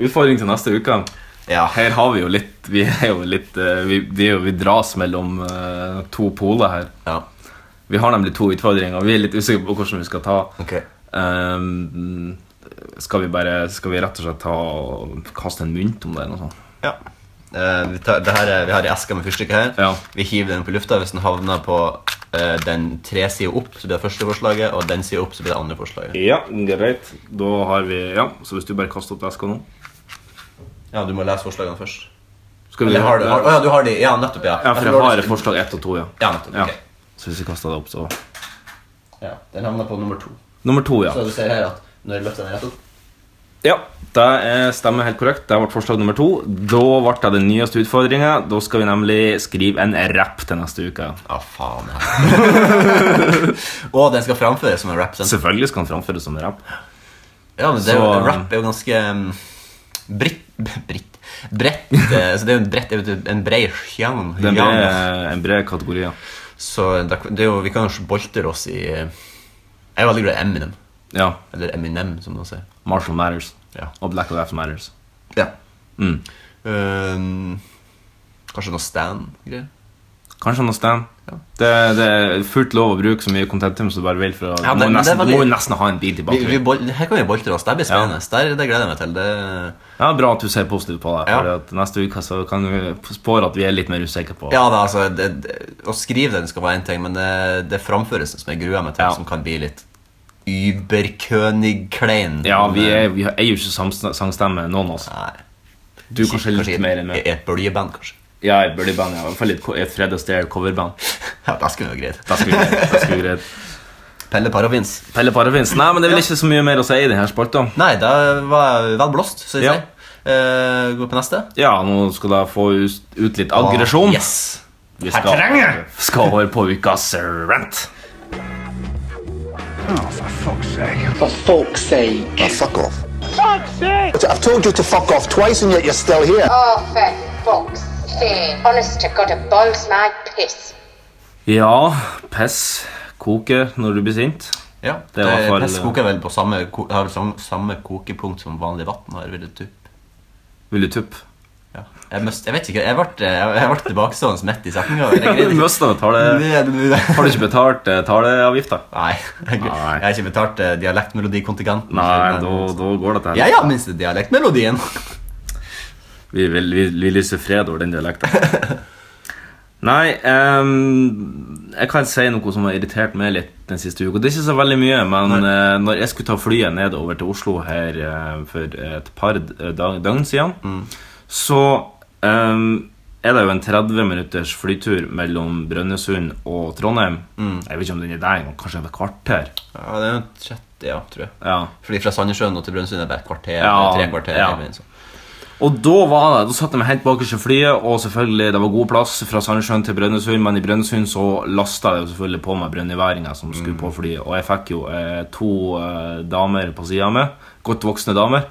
S2: Utfordring til neste uke.
S3: ja.
S2: Her har vi jo litt Vi er jo litt eh, Vi, det er jo, vi dras mellom eh, to poler her.
S3: ja.
S2: Vi har nemlig to utfordringer. Vi er litt usikre på hvordan vi skal ta.
S3: Ok.
S2: Ehm, skal vi bare Skal vi rett og slett ta og kaste en mynt om det? eller noe sånt?
S3: Ja. Eh, vi, tar, det her er, vi har ei eske med fyrstikker her.
S2: Ja.
S3: Vi hiver den på lufta. Hvis den havner på eh, den tre sider opp, så blir det første forslaget, og den sida opp, så blir det andre forslaget.
S2: Ja, greit. Da har vi Ja, så hvis du bare kaster opp eska nå
S3: Ja, du må lese forslagene først.
S2: Skal
S3: Eller har du, har, å, ja, du har de. Ja, nettopp, ja.
S2: Ja, for jeg har forslag ett og to, ja.
S3: Ja, nettopp,
S2: Ja.
S3: ok.
S2: Så hvis jeg kaster det opp, så
S3: Ja, den havner på nummer to.
S2: Nummer to, ja.
S3: Så du ser her at når jeg løfter den rett opp
S2: Ja, Det er- stemmer helt korrekt. Det ble forslag nummer to. Da ble det den nyeste utfordringa. Da skal vi nemlig skrive en rapp til neste uke.
S3: Ja, (laughs) faen. Ja. og den skal framføres som en rap. Den.
S2: Selvfølgelig skal han framføres som en rapp.
S3: Ja, men det er jo,
S2: Så-
S3: rap er jo ganske um, britt, britt, bredt eh, Så det er jo en brett, det er jo en bred sjang.
S2: Det er en bred, en bred kategori, ja.
S3: Så det det er jo, vi kan jo boltre oss i eh, Jeg er veldig glad i Eminem.
S2: ja.
S3: Eller Eminem, som man sier.
S2: Marshall Matters.
S3: Ja.
S2: Og Black Lives Matters.
S3: Ja.
S2: Mm.
S3: Um, kanskje noe Stan-greier?
S2: Kanskje noe stand. Det, det er fullt lov å bruke så mye contentum som du bare vil. For å,
S3: Ja,
S2: du
S3: men-
S2: må,
S3: men det er
S2: nesten,
S3: veldig-
S2: må jo nesten ha en bit i
S3: Vi, vi
S2: bakgrunnen.
S3: bol her kan vi boltre oss. Det blir
S2: Ja.
S3: spennende. Der, det gleder jeg meg til. Det,
S2: Ja, bra at du ser positivt på det.
S3: Ja.
S2: For at neste uke så kan vi spåre at vi er litt mer usikre på
S3: ja, da, altså, det, det, Å skrive den skal være én ting, men det, det framførelsen som jeg gruer meg til,
S2: Ja.
S3: som kan bli litt überkönig-klein.
S2: Ja, vi er, vi er jo ikke samst- sangstemme, noen av oss.
S3: Nei.
S2: Du kanskje litt mer enn
S3: i-
S2: meg.
S3: I et bøljeband, kanskje. (laughs)
S2: Ja, i Birdie-band. Ja. I hvert fall litt ko- et Fred Astaire-coverband.
S3: Ja, Det skulle jo greit.
S2: Det skulle vi greid. det skulle vi greid.
S3: Pelle Parafins.
S2: Pelle Parafins. Nei, men det er vel ikke så mye mer å si i denne spalta.
S3: Nei, da var jeg vel blåst, så jeg
S2: Ja.
S3: sier. Eh, gå på neste.
S2: Ja, nå skal jeg få us- ut litt aggresjon.
S3: Åh, yes.
S2: Vi skal, skal over på ukas rant.
S8: For fuck's sake. Now fuck off. Fuck's sake! I've told you to fuck off twice and yet you're still here.
S9: Oh, for fuck's sake. Honest to God, it boils my piss.
S2: Ja, piss koker når du blir sint.
S3: Ja,
S2: Det var for-
S3: Pest koker vel på samme, ko- har vel samme, samme kokepunkt som vanlig vann har, vil jeg tro.
S2: Vil du tuppe?
S3: Ja. Jeg, must, jeg vet ikke, jeg ble, jeg, jeg ble tilbakestående midt i setninga. Jeg
S2: (laughs)
S3: greide
S2: Du
S3: ikke-
S2: mister tale... Har du ikke betalt eh, taleavgifta?
S3: Nei, jeg, jeg
S2: Nei.
S3: har ikke betalt eh, dialektmelodikontingenten.
S2: Nei,
S3: Men-
S2: da, da går det til
S3: Jeg har minst dialektmelodien.
S2: Vi, vil, vi, vi lyser fred over den dialekten. Nei, ehm, jeg kan si noe som har irritert meg litt den siste uka. Det er ikke så veldig mye, men eh, når jeg skulle ta flyet nedover til Oslo her eh, for et par d- eh, dag, døgn siden, så ehm, er det jo en 30 minutters flytur mellom Brønnøysund og Trondheim. Jeg vet ikke om den er der engang, kanskje et kvarter.
S3: Ja, det er jo 30, ja, tror jeg.
S2: Ja.
S3: Fordi fra Sandnessjøen og til Brønnøysund er det bare et kvarter.
S2: Ja,
S3: eller tre kvarter
S2: ja.
S3: eller noe sånt.
S2: Og da var det, da satt de helt bakerst i flyet, og selvfølgelig, det var god plass fra Sandnessjøen til Brønnøysund, men i Brønnøysund så lasta jeg jo selvfølgelig på meg brønnøyværinger som skulle på flyet, og jeg fikk jo eh, to eh, damer på sida av meg, godt voksne damer,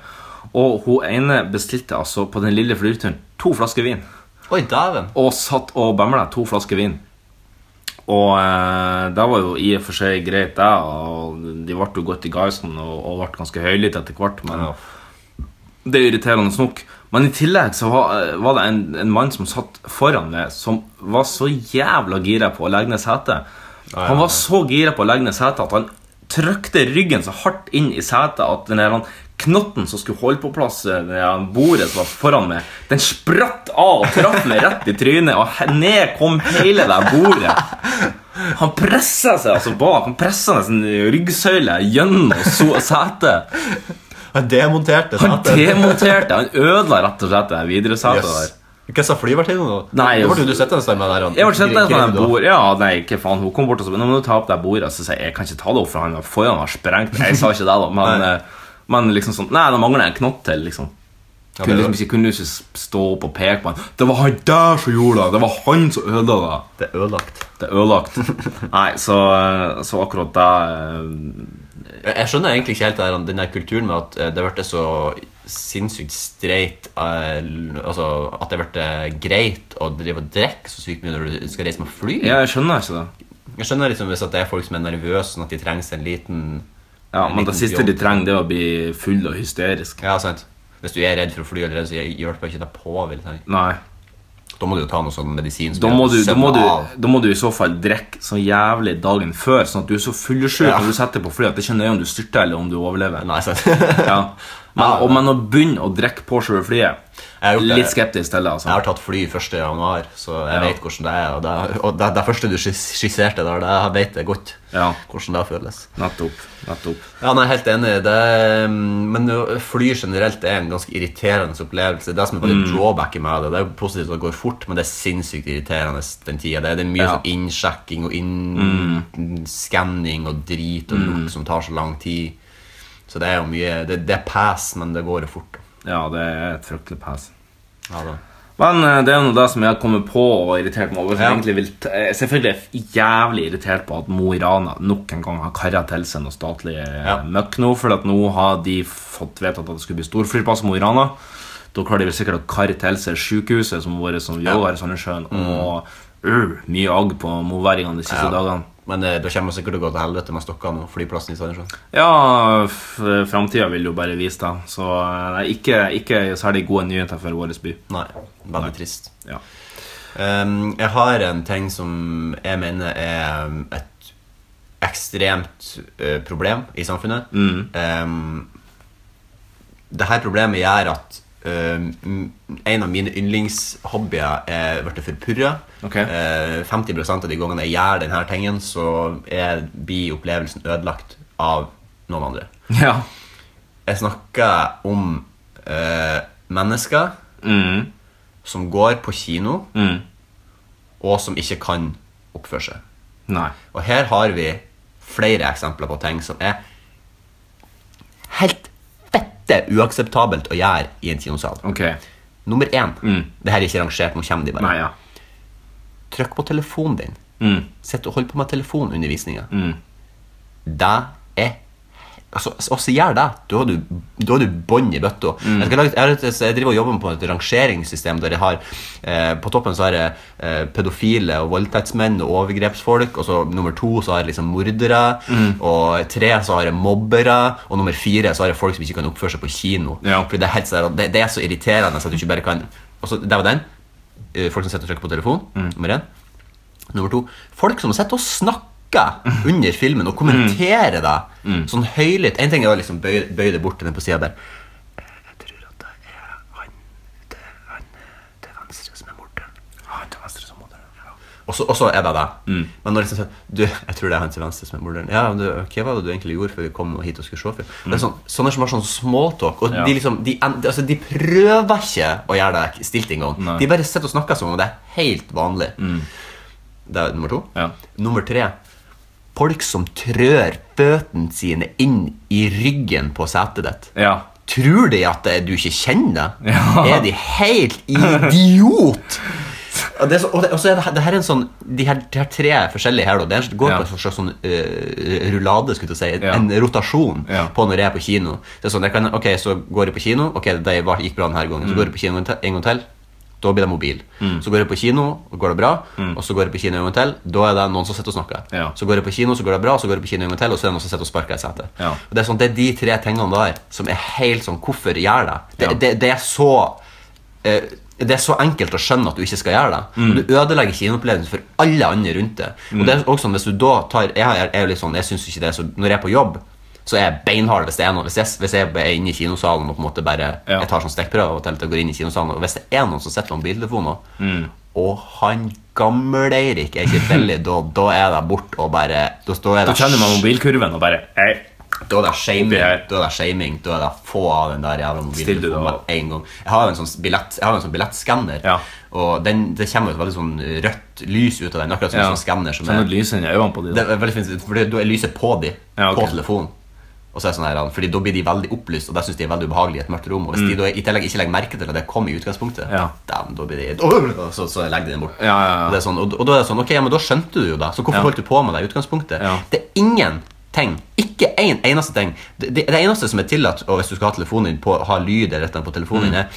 S2: og hun ene bestilte altså på den lille flyturen to flasker vin
S3: Oi, dæven.
S2: og satt og bamla to flasker vin. Og eh, det var jo i og for seg greit, det. Og de ble jo godt i geisen og, og ble ganske høylytte etter hvert. Men det er irriterende nok. Men i tillegg så var, eh, var det en, en mann som satt foran meg, som var så jævla gira på å legge ned setet. Han var så gira på å legge ned setet at han trykte ryggen så hardt inn i setet at den her han- knotten som skulle holde på plass eh, det her bordet som var foran meg, den spratt av og traff meg rett i trynet, og he- ned kom hele det her bordet. Han pressa seg altså bak. Han pressa nesten ryggsøyla gjennom so- setet.
S3: Han demonterte
S2: Han
S3: setet.
S2: demonterte, han ødela rett og slett det videre setet
S3: Yes.
S2: der.
S3: Hva sa flyvertinnen nå?
S2: Nei, altså-
S3: Da ble du sittende der med den der.
S2: Jeg ble sett ned
S3: greia
S2: sånn
S3: du har.
S2: bord Ja, nei, hva faen, hun kom bort og sa Nå må du ta opp det bordet Så sier jeg, jeg kan ikke ta det opp For han var foran var sprengt Jeg sa ikke det da Men,
S3: Nei.
S2: eh, men liksom sånn Nei, det mangler en knott til liksom
S3: Ja,
S2: kunne,
S3: det var-
S2: liksom, ikke, kunne ikke stå opp og peke på han Det var han der som gjorde det Det var han som ødela det
S3: Det er ødelagt.
S2: Det er ødelagt
S3: (laughs)
S2: Nei, så, eh, så akkurat det eh,
S3: Jeg jeg skjønner egentlig ikke helt det her, den der kulturen med at eh, det ble så sinnssykt streit eh, l- Altså at det ble greit å drive og drikke så sykt mye når du skal reise med fly.
S2: Ja, jeg skjønner ikke det
S3: Jeg skjønner liksom hvis at det er folk som er nervøse, sånn at de trenger seg en liten
S2: ja,
S3: en
S2: men
S3: liten
S2: det siste de
S3: jolt.
S2: trenger det er å bli full og hysterisk
S3: Ja, sant. Hvis du er redd for å fly allerede, så hjelper ikke det på. vil jeg tenke.
S2: Nei,
S3: Da må du jo ta noe sånn medisin som
S2: da
S3: gjør
S2: må,
S3: at
S2: du, da, må
S3: søvner
S2: du,
S3: av.
S2: da må du i så fall drikke så jævlig dagen før, sånn at du er så fyllesyk
S3: Ja.
S2: når du setter på flyet at det ikke er nøye om du styrter eller om du overlever.
S3: Nei, (laughs) sant.
S2: (laughs) Ja. Men, og, men å begynne å drikke på selve flyet
S3: Jeg har gjort det.
S2: Litt skeptisk til det. altså
S3: Jeg har tatt fly 1. januar, så jeg
S2: Ja.
S3: vet hvordan det er. Og det, og det, det første du skis- skisserte der, det jeg vet jeg godt
S2: Ja.
S3: hvordan det føles.
S2: Nettopp. nettopp
S3: Ja, nei, helt enig. Det, mm, men jo, fly generelt er en ganske irriterende opplevelse. Det som er bare drawbacket med det, det er jo positivt at det går fort, men det er sinnssykt irriterende den tida. Det, er- det er mye
S2: Ja.
S3: sånn innsjekking og inn, skanning og drit og lukt som tar så lang tid. Så det er jo mye Det, det er pass, men det går jo fort.
S2: Ja, det er et fryktelig pass.
S3: Ja, da.
S2: Men eh, det er noe det som jeg har kommet på og irritert meg over.
S3: Ja.
S2: Ja. Vil t eh, selvfølgelig er jeg jævlig irritert på at Mo i Rana nok en gang har karra til seg noe statlig eh,
S3: Ja.
S2: møkk nå. For at nå har de fått vedtatt at det skulle bli storflyplass i Mo i Rana. Da klarer de vel sikkert å karre til seg sykehuset som har vært som vi
S3: Ja. Mm.
S2: også har i Sandnessjøen. Og øh, mye agg på moværingene de siste
S3: Ja.
S2: dagene.
S3: Men eh, da kommer det sikkert til å gå til helvete med stokkene og flyplassen i Sandnessjøen.
S2: Ja, f- framtida vil jo bare vise det. Så eh, nei, ikke, ikke særlig gode nyheter for vår by.
S3: Nei. Veldig trist.
S2: Ja.
S3: Um, jeg har en ting som jeg mener er um, et ekstremt uh, problem i samfunnet.
S2: Mm.
S3: Um, det her problemet gjør at um, en av mine yndlingshobbyer er blitt forpurra.
S2: Ok.
S3: Eh, 50 av de gangene jeg gjør denne tingen, så er, blir opplevelsen ødelagt av noen andre.
S2: ja.
S3: Jeg snakker om eh, mennesker
S2: Mm.
S3: som går på kino,
S2: Mm.
S3: og som ikke kan oppføre seg.
S2: Nei.
S3: Og her har vi flere eksempler på ting som er helt fette uakseptabelt å gjøre i en kinosal.
S2: Ok.
S3: Nummer én.
S2: Mm.
S3: Det her er ikke rangert, nå kommer de bare.
S2: Nei, ja.
S3: Trykk på telefonen din.
S2: Mm.
S3: Sitt og hold på med telefonundervisninga. Det er Altså, også gjør det. Da har du, da har du bånd i bøtta. Jeg, skal lage, jeg, har et- jeg driver og jobber på et rangeringssystem der jeg har eh, På toppen så har jeg eh, pedofile og voldtektsmenn og overgrepsfolk. Og så nummer to så har jeg liksom mordere. Og tre så har jeg mobbere. Og nummer fire så har jeg folk som ikke kan oppføre seg på kino.
S2: Ja.
S3: Fordi det er, helt, sånn at det, det er så irriterende at du ikke bare kan Og så, Der var den. Eh, Folk som sitter og trykker på telefon. Nummer én. Nummer to, folk som sitter og snakker under filmen og kommenterer deg sånn høylytt. En ting er å liksom bøye, bøye det bort til den på sida der. Jeg tror at det er han til, han til venstre som er morderen. Han Ah, til venstre som er morderen. ja. Og så- Og så er det det.
S2: Mm.
S3: Men når liksom sier Du, jeg tror det er han til venstre som er morderen. Ja, men du, hva var det du egentlig gjorde før vi kom hit og skulle se film? Det er sånn, sånne som har sånn småtalk. Og
S2: Mm. Ja.
S3: de liksom de, en- altså, de prøver ikke å gjøre det stilt engang.
S2: Nei. Mm.
S3: De bare sitter og snakker som om det er helt vanlig. Det er nummer to.
S2: Ja.
S3: Nummer tre Folk som trør føttene sine inn i ryggen på setet ditt.
S2: Ja.
S3: Tror de at eh, du ikke kjenner det?
S2: (laughs) Ja.
S3: Er de helt
S2: (laughs)
S3: idiot? Og, det er så, og, det, og så er det, her- det her er en sånn De her, de her tre forskjellige her da, Det er- det går
S2: Ja.
S3: på en slags sånn eh, rullade, skulle jeg til å si
S2: Ja.
S3: En rotasjon
S2: Ja.
S3: på når jeg er på kino Det er sånn, jeg kan, ok, så går jeg på kino Ok, det var- gikk bra denne gangen
S2: Mm.
S3: Så går jeg på kino en te- en gang til Da blir det mobil Så går jeg på kino, og går det bra Og så går jeg på kino en gang til Da er det noen som sitter og snakker
S2: Mm. Ja.
S3: Så går jeg på kino, så går det bra Så går jeg på kino en gang til Og så er det noen som sitter og sparker i setet
S2: Ja.
S3: Og det er sånn, det er de tre tingene der Som er helt sånn, hvorfor gjør det? Det,
S2: Ja.
S3: det, det er så eh, det er så enkelt å skjønne at du ikke skal gjøre det.
S2: Mm.
S3: Men Du ødelegger kinoopplevelsen for alle andre rundt deg. Og
S2: Mm.
S3: det er også sånn, hvis du da tar, jeg, er- er jo litt sånn, jeg synes ikke det, er så Når jeg er på jobb, så er jeg beinhard hvis det er noe. Hvis jeg, hvis jeg er inne i kinosalen og på en måte bare
S2: Ja.
S3: Jeg tar sånn stikkprøve og til til jeg går inn i kinosalen, og hvis det er noen som sitter med mobiltelefon nå,
S2: Mm.
S3: og han gamle Eirik er ikke veldig, da, da er det bort og bare Da, da er
S2: Da
S3: det
S2: kjenner man mobilkurven og bare Hei.
S3: da er det shaming.
S2: Oppi her.
S3: Da er det shaming. Da er det få av den der jævla
S2: Still du det
S3: mobiltelefonen
S2: av.
S3: med en gang. Jeg har jo en sånn billett Jeg har jo en sånn billettskanner,
S2: Ja.
S3: og den, det kommer jo et veldig sånn rødt lys ut av den. Akkurat som en sånn skanner som
S2: Sånn
S3: er
S2: at lyset i øynene på de.
S3: Det er veldig fint, for det- da er lyset på de,
S2: Ja, ok.
S3: på telefonen. Og så er det sånn her, fordi Da blir de veldig opplyst, og det syns de er veldig ubehagelig i et mørkt rom. Og hvis de da i tillegg ikke legger merke til at det kom i utgangspunktet,
S2: Mm. Ja.
S3: damn, da blir de og så, så legger de den bort.
S2: Ja, ja, ja.
S3: Og, det er sånn, og, og da er det sånn Ok, ja, men da skjønte du jo det, så hvorfor
S2: Ja.
S3: holdt du på med det i utgangspunktet?
S2: Ja.
S3: Det er ingenting. Ikke en eneste ting. Det, det, det eneste som er tillatt, og hvis du skal ha telefonen din på, ha lyd eller et eller annet på
S2: Mm.
S3: telefonen din, er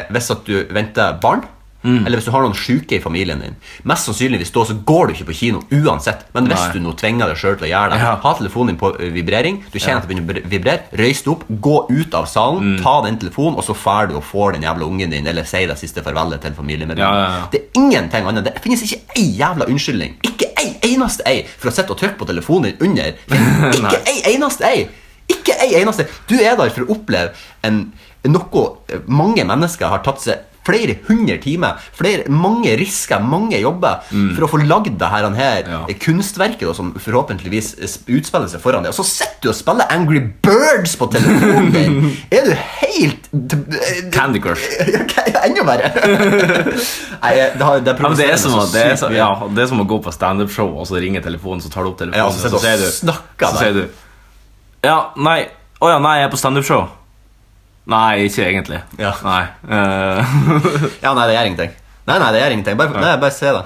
S3: eh, hvis at du venter barn,
S2: Mm.
S3: eller hvis du har noen syke i familien din. Mest sannsynligvis da så går du ikke på kino uansett. Men hvis
S2: Nei.
S3: du nå tvinger deg sjøl til å gjøre det,
S2: Ja.
S3: ha telefonen din på ø, vibrering, du kjenner at det begynner å br- vibrere, røys deg opp, gå ut av salen,
S2: Mm.
S3: ta den telefonen, og så drar du og får den jævla ungen din, eller sier det siste farvelet til familiemedlemmet.
S2: Ja, ja, ja.
S3: Det er ingenting annet. Det finnes ikke ei jævla unnskyldning. Ikke ei eneste ei for å sitte og trykke på telefonen din
S2: (laughs)
S3: under. Ikke ei eneste ei. Ikke ei eneste. Du er der for å oppleve en, noe mange mennesker har tatt seg flere hundre timer, flere, mange risker, mange jobber for å få lagd det her, her
S2: Mm. Ja.
S3: kunstverket da, som forhåpentligvis utspiller seg foran deg. Og så sitter du og spiller Angry Birds på telefonen din!
S2: (laughs)
S3: Er du helt
S2: Candy
S3: (laughs)
S2: Crush.
S3: Enda verre!
S2: (laughs)
S3: Nei, det, har, det,
S2: Ja, men det er som å, det er, så-
S3: sykt mye.
S2: ja, det er som å gå på standup-show, og så ringer telefonen, så tar du opp telefonen,
S3: Ja,
S2: og
S3: så
S2: så
S3: sitter
S2: sier
S3: du
S2: du
S3: og snakker
S2: Så
S3: der.
S2: sier du Ja, nei Å ja, nei, jeg er på standup-show. Nei, ikke egentlig.
S3: Ja.
S2: Nei. eh, (laughs)
S3: Ja, nei, det gjør ingenting. Nei, nei, det gjør ingenting. Bare, nei, bare se det.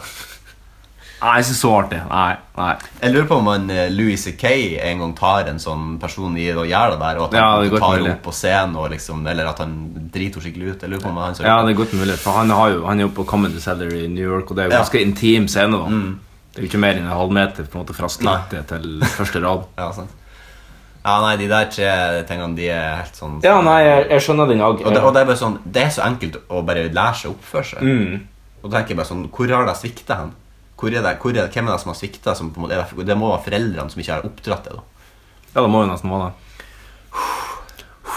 S2: nei, ikke så artig. Nei. nei
S3: Jeg lurer på om han, eh, Louis C.K. en gang tar en sånn person i og gjør det der, og at
S2: Ja, det
S3: han
S2: er godt
S3: tar
S2: mulig.
S3: opp på scenen, og liksom, eller at han driter skikkelig ut. Jeg lurer på om han
S2: Ja, det er godt mulig, for han, har jo, han er jo på Comedy Cellar i New York, og det er jo
S3: Ja. Mm.
S2: ganske intim scene. da Det er jo ikke mer enn en halvmeter på en måte fra
S3: Nei.
S2: skrittet til første rad.
S3: Ja, sant. Ja, nei, de der tre tingene, de er helt sånn
S2: Ja, nei, jeg, jeg skjønner den òg.
S3: Og, det, og det er bare sånn, det er så enkelt å bare lære seg å oppføre seg.
S2: Mm.
S3: Og da tenker jeg bare sånn, Hvor har det svikta hen? Hvor er det, hvor er det, hvem er det som har svikta? Som på en måte, er det, det må være foreldrene som ikke har oppdratt det. da.
S2: Ja, det må jo nesten være det.
S3: Ja,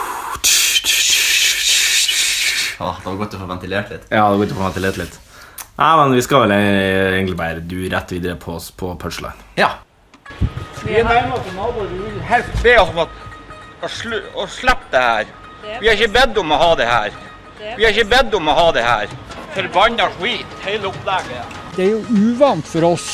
S3: Ah, det var godt å få ventilert litt.
S2: Ja, det går ikke på meg til å lete litt. Nei, men vi skal vel e- egentlig bare du rett videre på, på punchline.
S3: Ja.
S10: helst be oss om at å, slu, å slippe det her. Vi har ikke bedt om å ha det her. Vi har ikke bedt om å ha det her. Forbanna skit, hele opplegget.
S11: Det er jo uvant for oss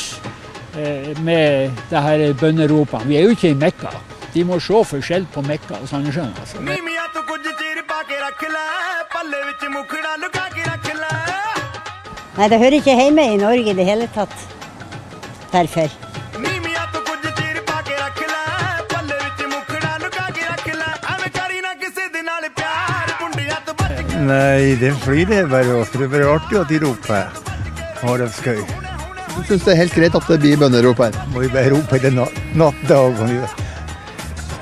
S11: eh, med det her bønneropene. Vi er jo ikke i Mekka. De må se forskjell på Mekka og Sandnessjøen. Altså.
S12: Nei, det hører ikke hjemme i Norge i det hele tatt. Derfor.
S13: Nei, den flyveren også. Det er bare artig at de roper. Haraldskøy. Du syns det er helt greit at det blir bønnerop her? Må jo bare rope det na- natt, dag og natt.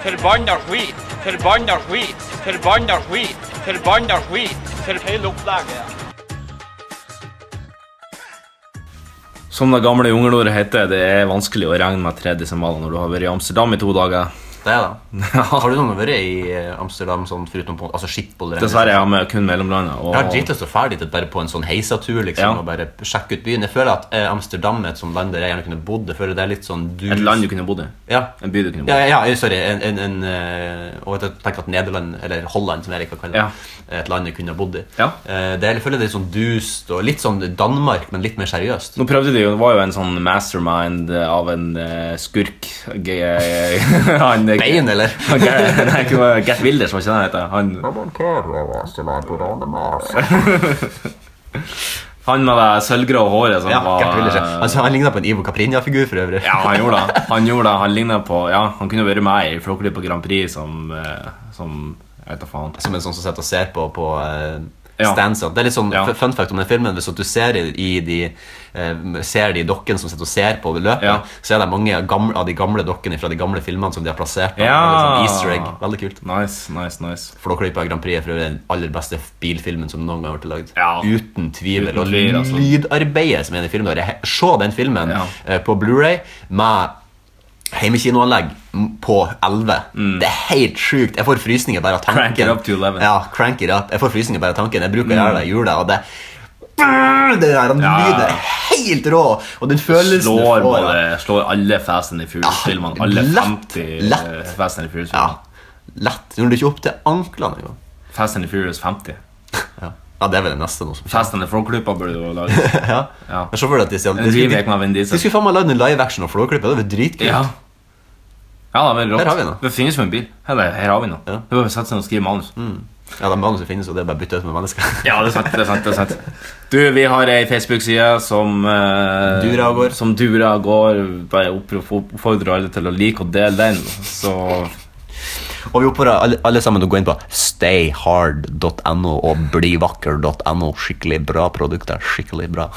S10: Forbanna skit, forbanna skit, forbanna skit, forbanna skit, for hele opplegget.
S2: Som det gamle jungelordet heter, det er vanskelig å regne med tre desimaler når du har vært i Amsterdam i to dager.
S3: Det er
S2: (laughs)
S3: det. Har du noen gang vært i eh, Amsterdam sånn foruten på altså Schiphol? eller-
S2: Dessverre jeg har med kun mellomlandet. og-
S3: Jeg har dritlyst til å ferdig bare på en sånn heisatur liksom,
S2: Ja.
S3: og bare sjekke ut byen. Jeg føler at eh, Amsterdam er et sånt land der jeg gjerne kunne bodd. Jeg føler det er litt sånn du...
S2: Et land du kunne bodd i.
S3: Ja.
S2: En by du kunne bodd i.
S3: Ja, ja, ja, sorry. En, en, en, eh, og jeg tenkte at Nederland, eller Holland, som jeg liker å kalle det, er et land jeg kunne ha bodd i.
S2: Ja.
S3: Eh, Det er, jeg føler det er litt sånn dust, og litt sånn Danmark, men litt mer seriøst.
S2: Nå prøvde de jo, Det var jo en sånn mastermind av en eh, (laughs) skurk. G- Han det er ikke-
S3: Bein, eller?
S2: Han Ger- (laughs) Nei, ikke bare Gert Wilders, hva kjenner jeg heter han? Han med det sølvgrå håret som
S3: Ja,
S2: var
S3: Gert Wilders, ja. Altså, han lignet på en Ivo Caprinia-figur for øvrig.
S2: Ja, han gjorde det. Han gjorde det, han lignet på Ja, han kunne vært med i Flåklypa Grand Prix som, eh, som Jeg vet da faen.
S3: Som en sånn som sitter og ser på på eh,
S2: Ja.
S3: standsene. Det er litt sånn f- fun fact om den filmen. Hvis at du ser i, i de eh, Ser de dokkene som sitter og ser på løpet, så er det mange gamle, av de gamle dokkene fra de gamle filmene som de har plassert. der.
S2: Ja.
S3: Det er litt sånn Easter egg. Veldig kult.
S2: Nice, nice, nice
S3: Flåklypa Grand Prix er for øvrig den aller beste bilfilmen som noen gang har blitt lagd.
S2: Ja.
S3: Uten tvil.
S2: Uten
S3: og
S2: tvil, altså.
S3: lydarbeidet som er i den filmen der. he- Se den filmen eh, på Blu-ray med Heimekinoanlegg m- på 11. Det er helt sjukt. Jeg får frysninger bare av
S2: Mm.
S3: tanken.
S2: Crank it up to 11.
S3: Ja, crank it up. Jeg får frysninger bare av tanken. Jeg bruker å
S2: Mm.
S3: gjøre det i jula, og det det der, den
S2: Ja.
S3: lyden er helt rå! Og den følelsen
S2: Slår,
S3: du får
S2: bare, slår alle Fast and the Furious-filmene. Alle
S3: Ah, lett,
S2: 50
S3: lett.
S2: Fast and the Furious-filmene.
S3: Lett. Når du ikke opp til anklene engang.
S2: Fast and the Furious 50.
S3: ja. ja, det er vel det neste nå som
S2: Fast and the Flåklypa burde du ha laget.
S3: (laughs) ja. Men så føler jeg at de sier
S2: En remake med Vin
S3: de
S2: Diesel.
S3: skulle faen meg lagd en live action av Flåklypa. Det var dritkult.
S2: Ja. Ja, det er veldig rått.
S3: Her har vi noe.
S2: Det finnes jo en bil. Her, her har vi noe. Det er bare å sette seg ned og skrive
S3: Mm.
S2: manus.
S3: Ja, det manuset finnes, og det er bare å bytte ut med mennesker. (laughs)
S2: Ja, det er sant. det er sant, det er sant. Du, vi har ei Facebook-side som eh,
S3: Dura går.
S2: Som Dura går. Bare opprop- oppfordrer alle til å like og dele den. Så
S3: Og vi oppfordrer alle, alle sammen til å gå inn på stayhard.no og blivakker.no. Skikkelig bra produkter. Skikkelig bra.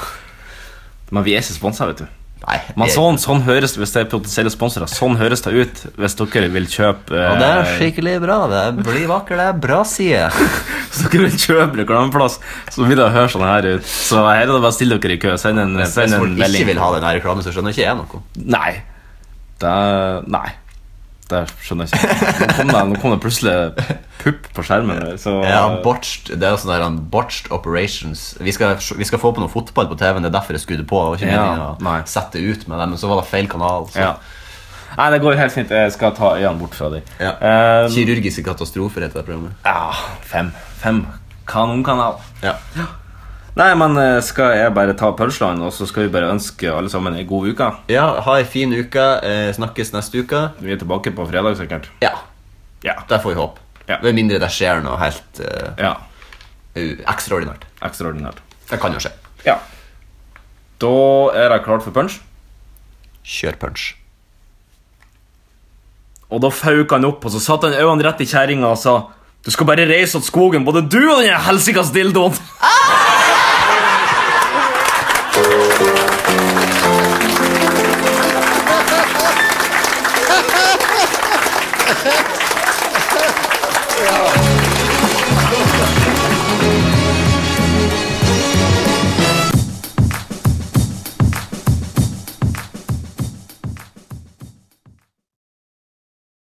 S2: Men vi er ikke sponsa, vet du.
S3: Nei,
S2: Men
S3: jeg-
S2: sånn, sånn høres det hvis det er potensielle sponsorer. Sånn høres det ut hvis dere vil kjøpe eh,
S3: Og det er skikkelig bra. det er Bli vakker, det er
S2: (laughs)
S3: bra side.
S2: Hvis dere vil kjøpe reklameplass, så vil det høre sånn her ut. Så her er det bare å stille dere i kø. Send en,
S3: Hvis
S2: send en
S3: folk
S2: melding.
S3: ikke vil ha den her reklamen, så skjønner ikke jeg noe.
S2: Nei. Det er, Nei. Det skjønner jeg ikke. Nå kom det, nå kom det plutselig pupp på skjermen. Så, eh,
S3: Ja, botched, det er sånn der han, botched operations. Vi skal, vi skal få på noe fotball på TV-en, det er derfor jeg skrudde på. Det var ikke
S2: Ja,
S3: meningen å sette ut med det, men så var det feil kanal. Så.
S2: Ja. Nei, det går helt fint. Jeg skal ta øynene bort fra deg.
S3: Ja.
S2: Eh,
S3: Kirurgiske katastrofer heter det programmet.
S2: Ja, fem. Fem. Kanonkanal.
S3: Ja.
S2: Nei, men eh, skal jeg bare ta pølsene, og så skal vi bare ønske alle sammen ei god uke?
S3: Ja, ha ei fin uke. eh, Snakkes neste uke.
S2: Vi er tilbake på fredag, sikkert.
S3: Ja.
S2: Ja.
S3: Det får vi håpe. Med mindre det skjer noe helt eh,
S2: Ja.
S3: u- ekstraordinært.
S2: Ekstraordinært.
S3: Det kan jo skje.
S2: Ja. Da er jeg klart for punch.
S3: Kjør punch.
S2: Og da fauk han opp, og så satt han øynene rett i kjerringa og sa Du skal bare reise åt skogen, både du og den helsikas dildoen.
S7: Ja.